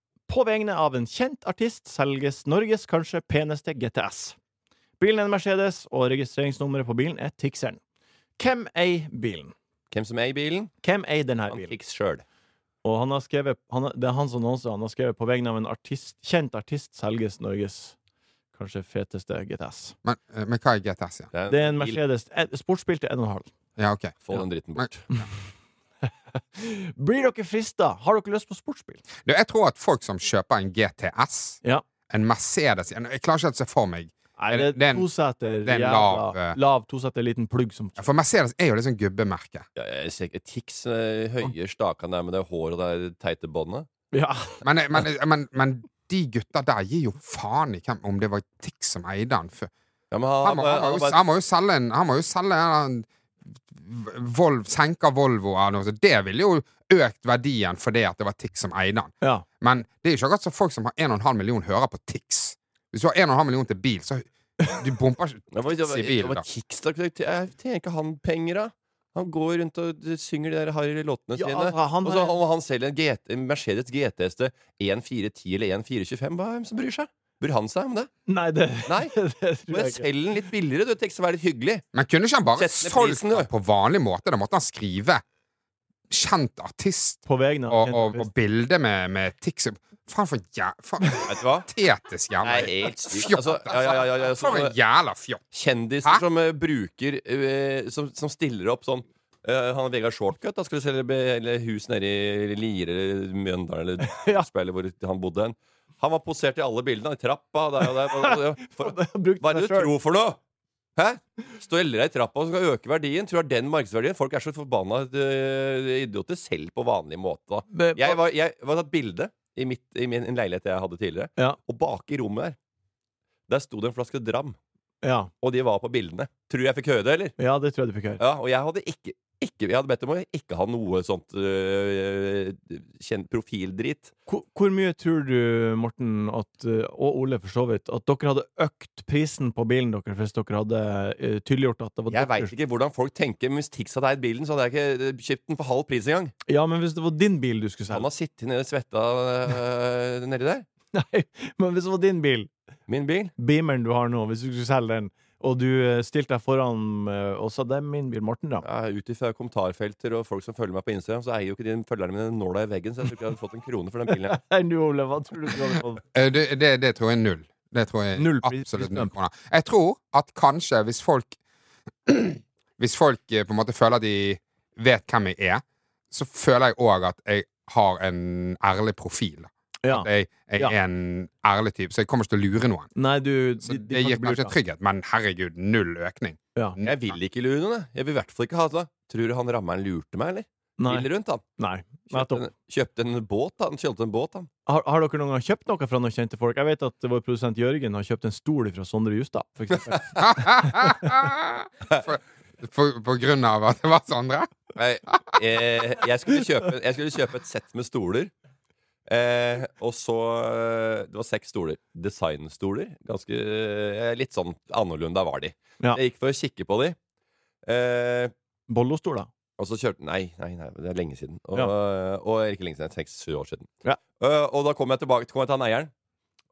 [SPEAKER 2] På vegne av en kjent artist selges Norges kanskje peneste GTS. Bilen er en Mercedes, og registreringsnummeret på bilen er Tixeren. Hvem eier bilen?
[SPEAKER 5] Hvem som er i bilen?
[SPEAKER 2] Hvem eier denne
[SPEAKER 5] Han
[SPEAKER 2] bilen?
[SPEAKER 5] fikk sjøl.
[SPEAKER 2] Og han har skrevet, han, det er han som annonser, han har skrevet på vegne av en artist, kjent artist selges Norges kanskje feteste GTS.
[SPEAKER 4] Men, eh, men hva er GTS igjen?
[SPEAKER 2] Det er en Mercedes eh, sportsbil til 1,5.
[SPEAKER 4] Ja, ok.
[SPEAKER 5] Få den dritten bort.
[SPEAKER 2] Blir dere frista? Har dere lyst på sportsbil?
[SPEAKER 4] Du, jeg tror at folk som kjøper en GTS,
[SPEAKER 2] Ja.
[SPEAKER 4] en Mercedes en- Jeg klarer ikke helt å se for meg.
[SPEAKER 2] Nei,
[SPEAKER 4] Er
[SPEAKER 2] det
[SPEAKER 4] det- det er
[SPEAKER 2] er
[SPEAKER 4] en-
[SPEAKER 2] toseter.
[SPEAKER 4] det er en
[SPEAKER 2] jævla-
[SPEAKER 4] lav, eh,
[SPEAKER 2] Lav toseter, liten plugg som
[SPEAKER 4] For Mercedes er jo liksom gubbemerke.
[SPEAKER 5] Ja, jeg ser ikke- Tix, eh, høye stakan der med det håret og det teite båndet.
[SPEAKER 2] Ja.
[SPEAKER 4] Men, eh, men, men, men de gutta der gir jo faen i hvem om det var Tix som eide han før.
[SPEAKER 5] Ja, men eh, han,
[SPEAKER 4] Han må, han,
[SPEAKER 5] han
[SPEAKER 4] må jo,
[SPEAKER 5] bare-
[SPEAKER 4] han må jo selge en Han må jo selge en Volvo, senka Volvo eller noe sånt. Det ville jo økt verdien fordi at det var Tix som eide han.
[SPEAKER 2] ja.
[SPEAKER 4] Men det er jo ikke akkurat som folk som har 1,5 million hører på Tix. Hvis du har 1,5 million til bil, så du
[SPEAKER 5] [laughs]
[SPEAKER 4] bomper ikke
[SPEAKER 5] Ja, hva-
[SPEAKER 4] Tix i
[SPEAKER 5] hva-
[SPEAKER 4] bil.
[SPEAKER 5] hva-
[SPEAKER 4] Da.
[SPEAKER 5] Tix, da. Jeg Tjener ikke han penger, da? Han går rundt og synger de der harry låtene
[SPEAKER 2] Ja,
[SPEAKER 5] sine.
[SPEAKER 2] altså, han
[SPEAKER 5] og så
[SPEAKER 2] er-
[SPEAKER 5] han, han selger en, GT, en Mercedes GTS til 1410 eller 1425. Hva er det som bryr seg? Bryr han seg om det?
[SPEAKER 2] Nei, det,
[SPEAKER 5] Nei.
[SPEAKER 2] [laughs] det tror
[SPEAKER 5] Bare
[SPEAKER 2] jeg ikke.
[SPEAKER 5] selg den litt billigere, du. Tix, vær litt hyggelig.
[SPEAKER 4] Men kunne ikke han bare
[SPEAKER 5] Sett ned
[SPEAKER 4] solgt
[SPEAKER 5] prisen,
[SPEAKER 4] den
[SPEAKER 5] du.
[SPEAKER 4] på vanlig måte? Da måtte han skrive kjent artist
[SPEAKER 2] På vegne av
[SPEAKER 4] og,
[SPEAKER 2] en
[SPEAKER 4] og, og
[SPEAKER 2] artist.
[SPEAKER 4] bilde med, med Tix. Faen, for jæ... Faen,
[SPEAKER 5] Vet du hva?
[SPEAKER 4] patetisk jævla
[SPEAKER 5] Nei, helt sykt.
[SPEAKER 4] Fjott,
[SPEAKER 5] Altså, ja, ja, ja, ja, ja,
[SPEAKER 4] For en
[SPEAKER 5] sånn-
[SPEAKER 4] jævla fjott.
[SPEAKER 5] Kjendiser
[SPEAKER 4] Hæ?
[SPEAKER 5] som eh, bruker eh, som, som stiller opp sånn eh, Han Vegard Shortcut da skal vi selge be- eller hus nede i Lier eller Mjøndalen eller
[SPEAKER 2] Ja.
[SPEAKER 5] Kongsberg, eller hvor han bodde hen. Han var posert i alle bildene. I trappa der og der. Og, og,
[SPEAKER 2] [laughs]
[SPEAKER 5] for,
[SPEAKER 2] Han brukte
[SPEAKER 5] hva er det
[SPEAKER 2] seg
[SPEAKER 5] du
[SPEAKER 2] selv.
[SPEAKER 5] tror for noe?! Hæ? Steller deg i trappa og skal øke verdien? Tror du det er den markedsverdien? Folk er så forbanna eh, idioter selv på vanlig måte. da
[SPEAKER 2] Det-
[SPEAKER 5] jeg var, jeg var tatt bilde i, mitt, i min, en leilighet jeg hadde tidligere.
[SPEAKER 2] Ja.
[SPEAKER 5] Og bak i rommet der Der sto det en flaske Dram.
[SPEAKER 2] Ja.
[SPEAKER 5] Og de var på bildene. Tror du jeg fikk høre det, eller?
[SPEAKER 2] ja, det tror jeg du fikk høre.
[SPEAKER 5] Ja, Og jeg hadde ikke, ikke Jeg hadde bedt om å ikke ha noe sånt øh, kjent profildrit.
[SPEAKER 2] Hvor, hvor mye tror du, Morten, at, eh, og Ole for så vidt, at dere hadde økt prisen på bilen deres hvis dere hadde eh, tydeliggjort at det var
[SPEAKER 5] Jeg veit
[SPEAKER 2] deres?
[SPEAKER 5] ikke hvordan folk tenker, men hvis Tix hadde eid bilen, så hadde jeg ikke øh, kjøpt den for halv pris engang.
[SPEAKER 2] Ja, men hvis det var din bil du skulle
[SPEAKER 5] Han
[SPEAKER 2] selge?
[SPEAKER 5] har sittet nede og svetta øh, nedi der.
[SPEAKER 2] [laughs] Nei, men hvis det var din bil,
[SPEAKER 5] Min bil.
[SPEAKER 2] Beameren du har nå, hvis du skulle selge den, og du eh, stilte deg foran eh, og sa det er min bil, Morten, da.
[SPEAKER 5] Ja, Ut ifra kommentarfelter og folk som følger meg på Instagram, så eier jo ikke de følgerne mine nåla i veggen, så jeg tror ikke jeg hadde fått en krone for den bilen. her.
[SPEAKER 2] [laughs] Nei, du, Ole, hva tror du du hadde
[SPEAKER 5] [laughs]
[SPEAKER 2] fått?
[SPEAKER 4] Eh, Det, det, det tror jeg er null. Det tror jeg er
[SPEAKER 2] Null pris-
[SPEAKER 4] absolutt null
[SPEAKER 2] prisdømt.
[SPEAKER 4] kroner. Jeg tror at kanskje hvis folk [clears throat] Hvis folk eh, på en måte føler at de vet hvem jeg er, så føler jeg òg at jeg har en ærlig profil.
[SPEAKER 2] Ja.
[SPEAKER 4] At jeg, jeg
[SPEAKER 2] Ja.
[SPEAKER 4] er en ærlig type, så jeg kommer ikke til å lure noen.
[SPEAKER 2] Nei, du
[SPEAKER 4] Så
[SPEAKER 2] de- de
[SPEAKER 4] det
[SPEAKER 2] kan
[SPEAKER 4] gir
[SPEAKER 2] ikke bli lurt,
[SPEAKER 4] kanskje
[SPEAKER 2] da.
[SPEAKER 4] trygghet, men herregud, null økning.
[SPEAKER 2] Ja.
[SPEAKER 5] Jeg vil ikke lure noen. jeg. Jeg vil i hvert fall ikke ha det. Tror du han rammeren lurte meg, eller?
[SPEAKER 2] Nei.
[SPEAKER 5] Bilen rundt, han.
[SPEAKER 2] Nei.
[SPEAKER 5] Kjøpte
[SPEAKER 2] Nettopp.
[SPEAKER 5] en, kjøpte en båt, da. Han kjøpte en båt, han.
[SPEAKER 2] Har, har dere noen gang kjøpt noe fra noen kjente folk? Jeg vet at vår produsent Jørgen har kjøpt en stol fra Sondre Justad, for eksempel.
[SPEAKER 4] [laughs] for, for, på grunn av at det var Sondre?
[SPEAKER 5] Nei, eh, jeg, skulle kjøpe, jeg skulle kjøpe et sett med stoler. Eh, og så eh, Det var seks stoler. Designstoler. Ganske eh, Litt sånn annerledes var de.
[SPEAKER 2] Ja.
[SPEAKER 5] Jeg gikk for å kikke på de. Eh,
[SPEAKER 2] Bollostol, da.
[SPEAKER 5] Og så kjørte Nei, nei, nei det er lenge siden. Og,
[SPEAKER 2] Ja.
[SPEAKER 5] og ikke lenge siden, seks-sju år siden.
[SPEAKER 2] Ja.
[SPEAKER 5] Eh, og da kom jeg tilbake kom jeg til han eieren.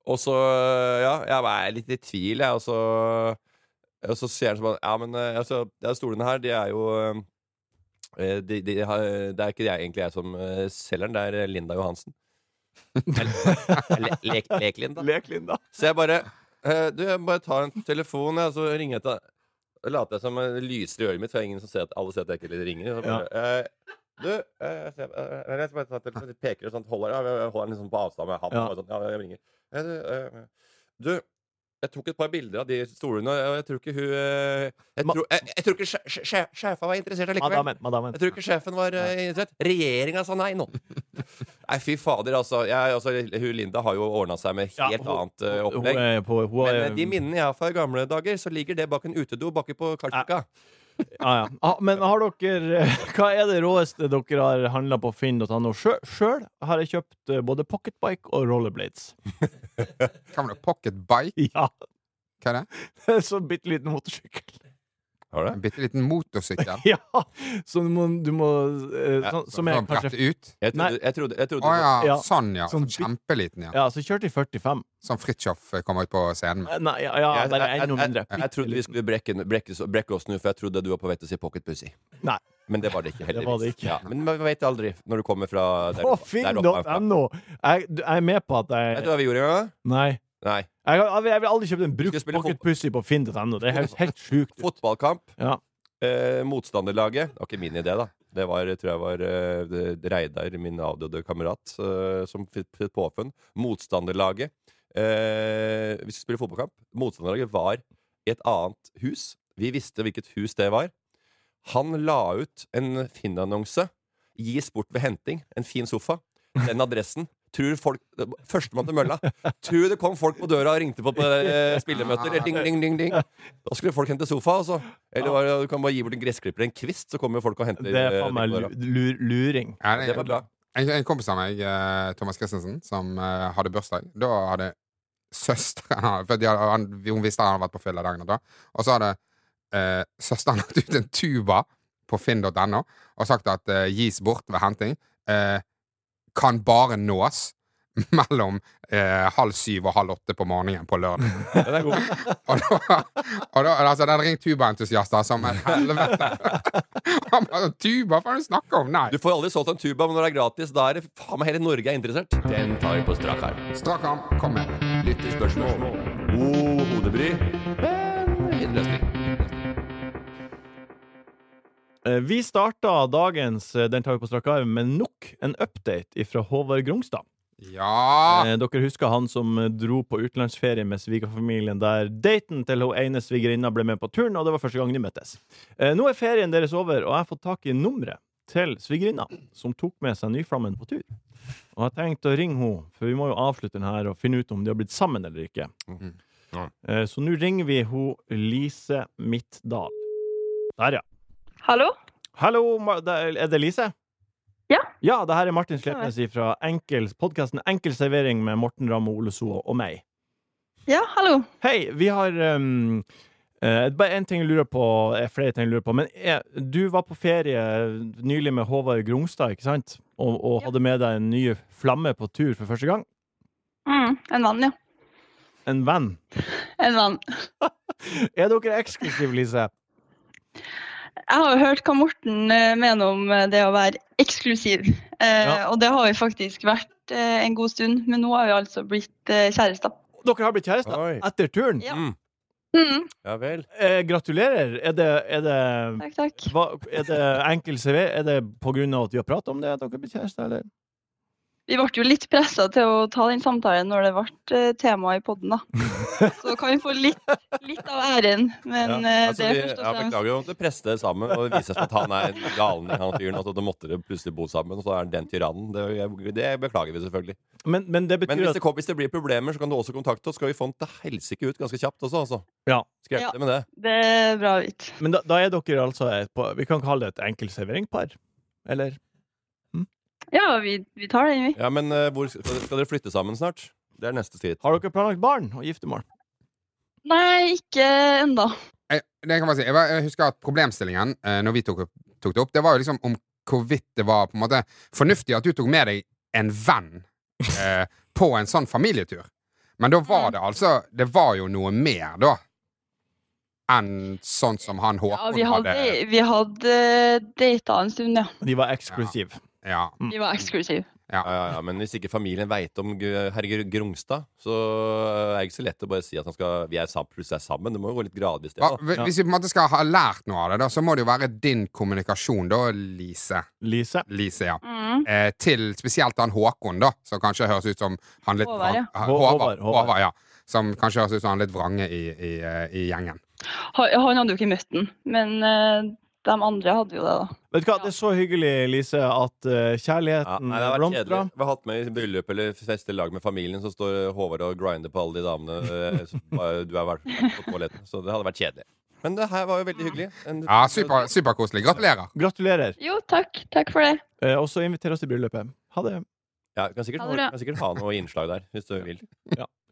[SPEAKER 5] Og så eh, Ja, jeg var litt i tvil, jeg. Og så, og så sier han sånn Ja, men eh, altså, de stolene her, de er jo eh, de, de har, Det er ikke jeg, egentlig jeg som eh, selger den, det er
[SPEAKER 2] [laughs]
[SPEAKER 5] Linda Johansen. Eller- eller Lek, Lek-Linda.
[SPEAKER 2] Lek, Linda.
[SPEAKER 5] Så jeg bare eh, Du, jeg bare tar en telefon, jeg, og så ringer jeg til deg. Da later jeg som det lyser i øret mitt, for ingen som ser at alle ser at jeg ikke ringer. Så bare, eh, du, eh, jeg ser- eh, jeg vet bare at telefonen peker og sånt, holder, ja, jeg holder den liksom på avstand med handen.
[SPEAKER 2] Ja.
[SPEAKER 5] bare Sånn, ja, jeg ringer. Eh, du, eh, du, jeg tok et par bilder av de stolene, og jeg tror ikke hun eh, Jeg,
[SPEAKER 2] Ma-
[SPEAKER 5] tror- jeg, jeg tror ikke sje- sje- sje- sjefa var interessert allikevel.
[SPEAKER 2] Madammen. Madammen.
[SPEAKER 5] Jeg tror ikke sjefen var eh, interessert. Regjeringa sa nei nå. Nei, fy fader, altså. Jeg, altså hun Linda har jo ordna seg med
[SPEAKER 2] Ja,
[SPEAKER 5] helt
[SPEAKER 2] hun-
[SPEAKER 5] annet eh,
[SPEAKER 2] Hun
[SPEAKER 5] opplegg.
[SPEAKER 2] er på hun
[SPEAKER 5] Men
[SPEAKER 2] er,
[SPEAKER 5] eh, de minnene jeg har fra gamle dager, så ligger det bak en utedo bakke på Karlsbukka.
[SPEAKER 2] ja, ja. Ah, Men har dere eh, [laughs] Hva er det råeste dere har handla på finn.no? Sjø- Sjøl har jeg kjøpt eh, både pocketbike og rollerblades.
[SPEAKER 4] Hva var det? Pocket bike?
[SPEAKER 2] [laughs] Ja.
[SPEAKER 4] Hva er det?
[SPEAKER 2] Så bitte liten motorsykkel. [laughs]
[SPEAKER 5] Har du
[SPEAKER 4] En
[SPEAKER 5] det?
[SPEAKER 4] bitte liten motorsykkel.
[SPEAKER 2] Ja! Så du må, du må eh,
[SPEAKER 5] Ja,
[SPEAKER 2] sånn, Som
[SPEAKER 4] Sånn
[SPEAKER 2] jeg
[SPEAKER 4] brett
[SPEAKER 2] kanskje
[SPEAKER 4] ut.
[SPEAKER 5] Jeg
[SPEAKER 2] Nei.
[SPEAKER 5] trodde, jeg trodde, jeg
[SPEAKER 4] Å
[SPEAKER 5] trodde
[SPEAKER 4] ja,
[SPEAKER 2] Ja.
[SPEAKER 4] sånn, ja.
[SPEAKER 2] Sånn
[SPEAKER 4] Sånn
[SPEAKER 2] bi-
[SPEAKER 4] kjempeliten, ja.
[SPEAKER 2] Ja, så kjørte jeg 45.
[SPEAKER 4] Sånn Fridtjof kommer ut på scenen med.
[SPEAKER 2] Eh, Nei, ja, ja
[SPEAKER 5] Jeg-
[SPEAKER 2] bare
[SPEAKER 5] jeg-
[SPEAKER 2] enda
[SPEAKER 5] jeg-
[SPEAKER 2] mindre.
[SPEAKER 5] Jeg, jeg trodde vi skulle brekke, brekke, brekke oss nå, for jeg trodde du var på vei til å si pocket pussy.
[SPEAKER 2] Nei.
[SPEAKER 5] Men det var det ikke, heldigvis.
[SPEAKER 2] Det var det ikke.
[SPEAKER 5] Ja, men man vet aldri når du kommer fra der
[SPEAKER 2] På
[SPEAKER 5] oppe- der oppe han er fra.
[SPEAKER 2] finn.no! Jeg, du- jeg er med på at
[SPEAKER 5] Vet
[SPEAKER 2] jeg
[SPEAKER 5] du hva vi gjorde en gang?
[SPEAKER 2] Nei.
[SPEAKER 5] Nei.
[SPEAKER 2] Jeg, har- jeg vil aldri kjøpe en
[SPEAKER 5] Skal
[SPEAKER 2] brukt
[SPEAKER 5] spille fotball.
[SPEAKER 2] pocketpussy på finn.no. Det er helt, helt sjukt.
[SPEAKER 5] Fotballkamp.
[SPEAKER 2] Ja.
[SPEAKER 5] Eh, motstanderlaget. Det var ikke min idé, da. Det var, tror jeg var eh, det- Reidar, min avdøde kamerat, eh, som fikk fikk påfunn. Motstanderlaget. Eh, vi skulle spille fotballkamp. Motstanderlaget var i et annet hus. Vi visste hvilket hus det var. Han la ut en Finn-annonse. Gis bort ved henting. En fin sofa. Den adressen. Tror folk Førstemann til mølla. Tror du det kom folk på døra og ringte på på eh, spillemøter. Ding, ding, ding, ding. Da skulle folk hente sofa, altså. Eller var, det- du kan bare gi bort en gressklipper en kvist, så kommer jo folk og henter
[SPEAKER 2] Det er
[SPEAKER 5] eh,
[SPEAKER 2] faen meg
[SPEAKER 5] på
[SPEAKER 2] lu-
[SPEAKER 5] døra.
[SPEAKER 2] lur- luring.
[SPEAKER 4] Ja, det-
[SPEAKER 5] Det var bra.
[SPEAKER 4] En, en kompis av meg, eh, Thomas Christensen, som eh, hadde bursdag, da hadde søsteren [laughs] han- For de hadde, han, hun visste han hadde vært på fylla dagen da. Og så hadde eh, søsteren [laughs] lagt ut en tuba på finn.no og sagt at eh, gis bort ved henting. Eh, kan bare nås [laughs] mellom eh, halv syv og halv åtte på morgenen på lørdag.
[SPEAKER 5] [laughs] Den er god.
[SPEAKER 4] Og da, og da altså, Den ringte tubaentusiaster som et
[SPEAKER 5] [laughs]
[SPEAKER 4] helvete. Han bare 'Tuba, hva er det du snakker om?' Nei.
[SPEAKER 5] Du får aldri solgt en tuba, men når det er gratis, da er det faen meg hele Norge er interessert. Den tar vi på strak arm.
[SPEAKER 4] Strak arm. Kom med.
[SPEAKER 5] Lyttespørsmål. God Oh, hodebry. Men innløsning.
[SPEAKER 2] Eh, Vi starta dagens eh, Den tar vi på strak arm med nok en update fra Håvard Grongstad.
[SPEAKER 4] Ja!
[SPEAKER 2] Eh, Dere husker han som eh, dro på utenlandsferie med svigerfamilien, der daten til hun ene svigerinna ble med på turen, og det var første gang de møttes. Eh, Nå er ferien deres over, og jeg har fått tak i nummeret til svigerinna, som tok med seg nyflammen på tur. Og jeg tenkte å ringe henne, for vi må jo avslutte den her og finne ut om de har blitt sammen eller ikke. Eh, Så nå ringer vi hun Lise Midtdal. Der, ja.
[SPEAKER 6] Hallo?
[SPEAKER 2] Hallo, Ma- det er er det Lise?
[SPEAKER 6] Ja.
[SPEAKER 2] Ja, det her er Martin Slepnes fra Enkel, podkasten Enkel servering med Morten Ramm og Ole So og meg.
[SPEAKER 6] Ja, hallo.
[SPEAKER 2] Hei, vi har um, eh, bare én ting jeg lurer på, eh, flere ting jeg lurer på. Men eh, du var på ferie nylig med Håvard Grongstad, ikke sant? Og, og hadde med deg en ny flamme på tur for første gang.
[SPEAKER 6] Mm, en vann, ja.
[SPEAKER 2] En venn.
[SPEAKER 6] En vann.
[SPEAKER 2] Er dere eksklusive, Lise?
[SPEAKER 6] Jeg har jo hørt hva Morten eh, mener om eh, det å være eksklusiv. Eh,
[SPEAKER 2] Ja.
[SPEAKER 6] Og det har vi faktisk vært eh, en god stund, men nå har vi altså blitt eh, kjærester.
[SPEAKER 2] Dere har blitt kjærester
[SPEAKER 5] Oi.
[SPEAKER 2] etter turen.
[SPEAKER 6] Ja.
[SPEAKER 5] Mm.
[SPEAKER 6] Mm,
[SPEAKER 5] Ja vel.
[SPEAKER 2] Eh, gratulerer. Er det, er det
[SPEAKER 6] takk, takk.
[SPEAKER 2] Hva, er det enkel CV? Er det på grunn av at vi har pratet om det, at dere blir kjærester, eller?
[SPEAKER 6] Vi ble jo litt pressa til å ta den samtalen når det ble eh, tema i
[SPEAKER 5] [laughs]
[SPEAKER 6] podden, da. Så kan vi få litt, litt av æren, men eh,
[SPEAKER 5] Altså,
[SPEAKER 6] det
[SPEAKER 5] vi,
[SPEAKER 6] er først
[SPEAKER 5] ja,
[SPEAKER 6] og fremst
[SPEAKER 5] beklager, vi måtte presse det sammen, og det viser seg at han er en galning, han fyren. Altså, da måtte dere plutselig bo sammen, og så er han den tyrannen. Det, jeg- det beklager vi selvfølgelig.
[SPEAKER 2] Men, men det
[SPEAKER 5] Men
[SPEAKER 2] betyr
[SPEAKER 5] hvis
[SPEAKER 2] at
[SPEAKER 5] det, kom- hvis det blir problemer, så kan du også kontakte oss. Skal vi få den til helsike ut ganske kjapt også, altså.
[SPEAKER 2] Ja.
[SPEAKER 5] Skal jeg hjelpe deg
[SPEAKER 6] Ja.
[SPEAKER 5] med det?
[SPEAKER 6] Det er bra, Hvit.
[SPEAKER 2] Men da, da er dere altså et, på, Vi kan kalle det et enkel serveringpar? Eller?
[SPEAKER 6] Ja, vi, vi tar den, vi.
[SPEAKER 5] Ja, men eh, hvor, skal skal dere flytte sammen snart? Det er neste skritt.
[SPEAKER 2] Har dere planlagt barn og giftermål?
[SPEAKER 6] Nei, ikke ennå.
[SPEAKER 4] Jeg, det kan man si. jeg, var, jeg husker at problemstillingen eh, når vi tok, opp- tok det opp, det var jo liksom om hvorvidt det var på en måte fornuftig at du tok med deg en
[SPEAKER 6] [laughs]
[SPEAKER 4] venn eh, på en sånn familietur. Men da var det altså Det var jo noe mer, da, enn sånn som han
[SPEAKER 6] Ja,
[SPEAKER 4] Håkon
[SPEAKER 6] vi hadde,
[SPEAKER 4] hadde
[SPEAKER 6] vi hadde data en stund, ja.
[SPEAKER 2] De var eksklusive.
[SPEAKER 4] ja.
[SPEAKER 6] Vi var eksklusive.
[SPEAKER 5] Ja, ja, ja, men hvis ikke familien veit om gu- herr Gr- Grungstad, så eh, er det ikke så lett å bare si at han skal, vi er sammen, plutselig er sammen. Det må jo gå litt gradvis, det.
[SPEAKER 4] Hva,
[SPEAKER 5] da.
[SPEAKER 4] hvis vi på en måte skal ha lært noe av det, da, så må det jo være din kommunikasjon, da, Lise.
[SPEAKER 2] Lise?
[SPEAKER 4] Lise, ja.
[SPEAKER 6] Mm.
[SPEAKER 4] eh, til spesielt han Håkon, da, som kanskje høres ut som han litt
[SPEAKER 6] Håvard, ja.
[SPEAKER 2] Hå-
[SPEAKER 4] vrang- Håvard,
[SPEAKER 2] Håvard, Håvard.
[SPEAKER 4] Håvard, ja. Som kanskje høres ut som han litt vrange i, i, eh, i gjengen.
[SPEAKER 6] Han han hadde jo ikke møtt den, men eh, de andre hadde jo det, da.
[SPEAKER 2] Vet du hva, det er så hyggelig, Lise, at eh,
[SPEAKER 5] Ja,
[SPEAKER 2] kjærligheten
[SPEAKER 5] nei, det har vært kjedelig.
[SPEAKER 2] blomstrer.
[SPEAKER 5] Vi har hatt med i bryllup eller fest i lag med familien, så står Håvard og grinder på alle de damene eh, som bare- du har vært på toaletten. Så det hadde vært kjedelig. Men det her var jo veldig hyggelig. En-
[SPEAKER 4] Ja, super, Superkoselig. Gratulerer.
[SPEAKER 2] Gratulerer.
[SPEAKER 6] Jo, takk. Takk for det.
[SPEAKER 2] Eh, og så inviter oss til bryllupet. Ha det.
[SPEAKER 5] Ja, kan sikkert,
[SPEAKER 6] Ha det bra.
[SPEAKER 5] kan sikkert ha noe innslag der, hvis du vil.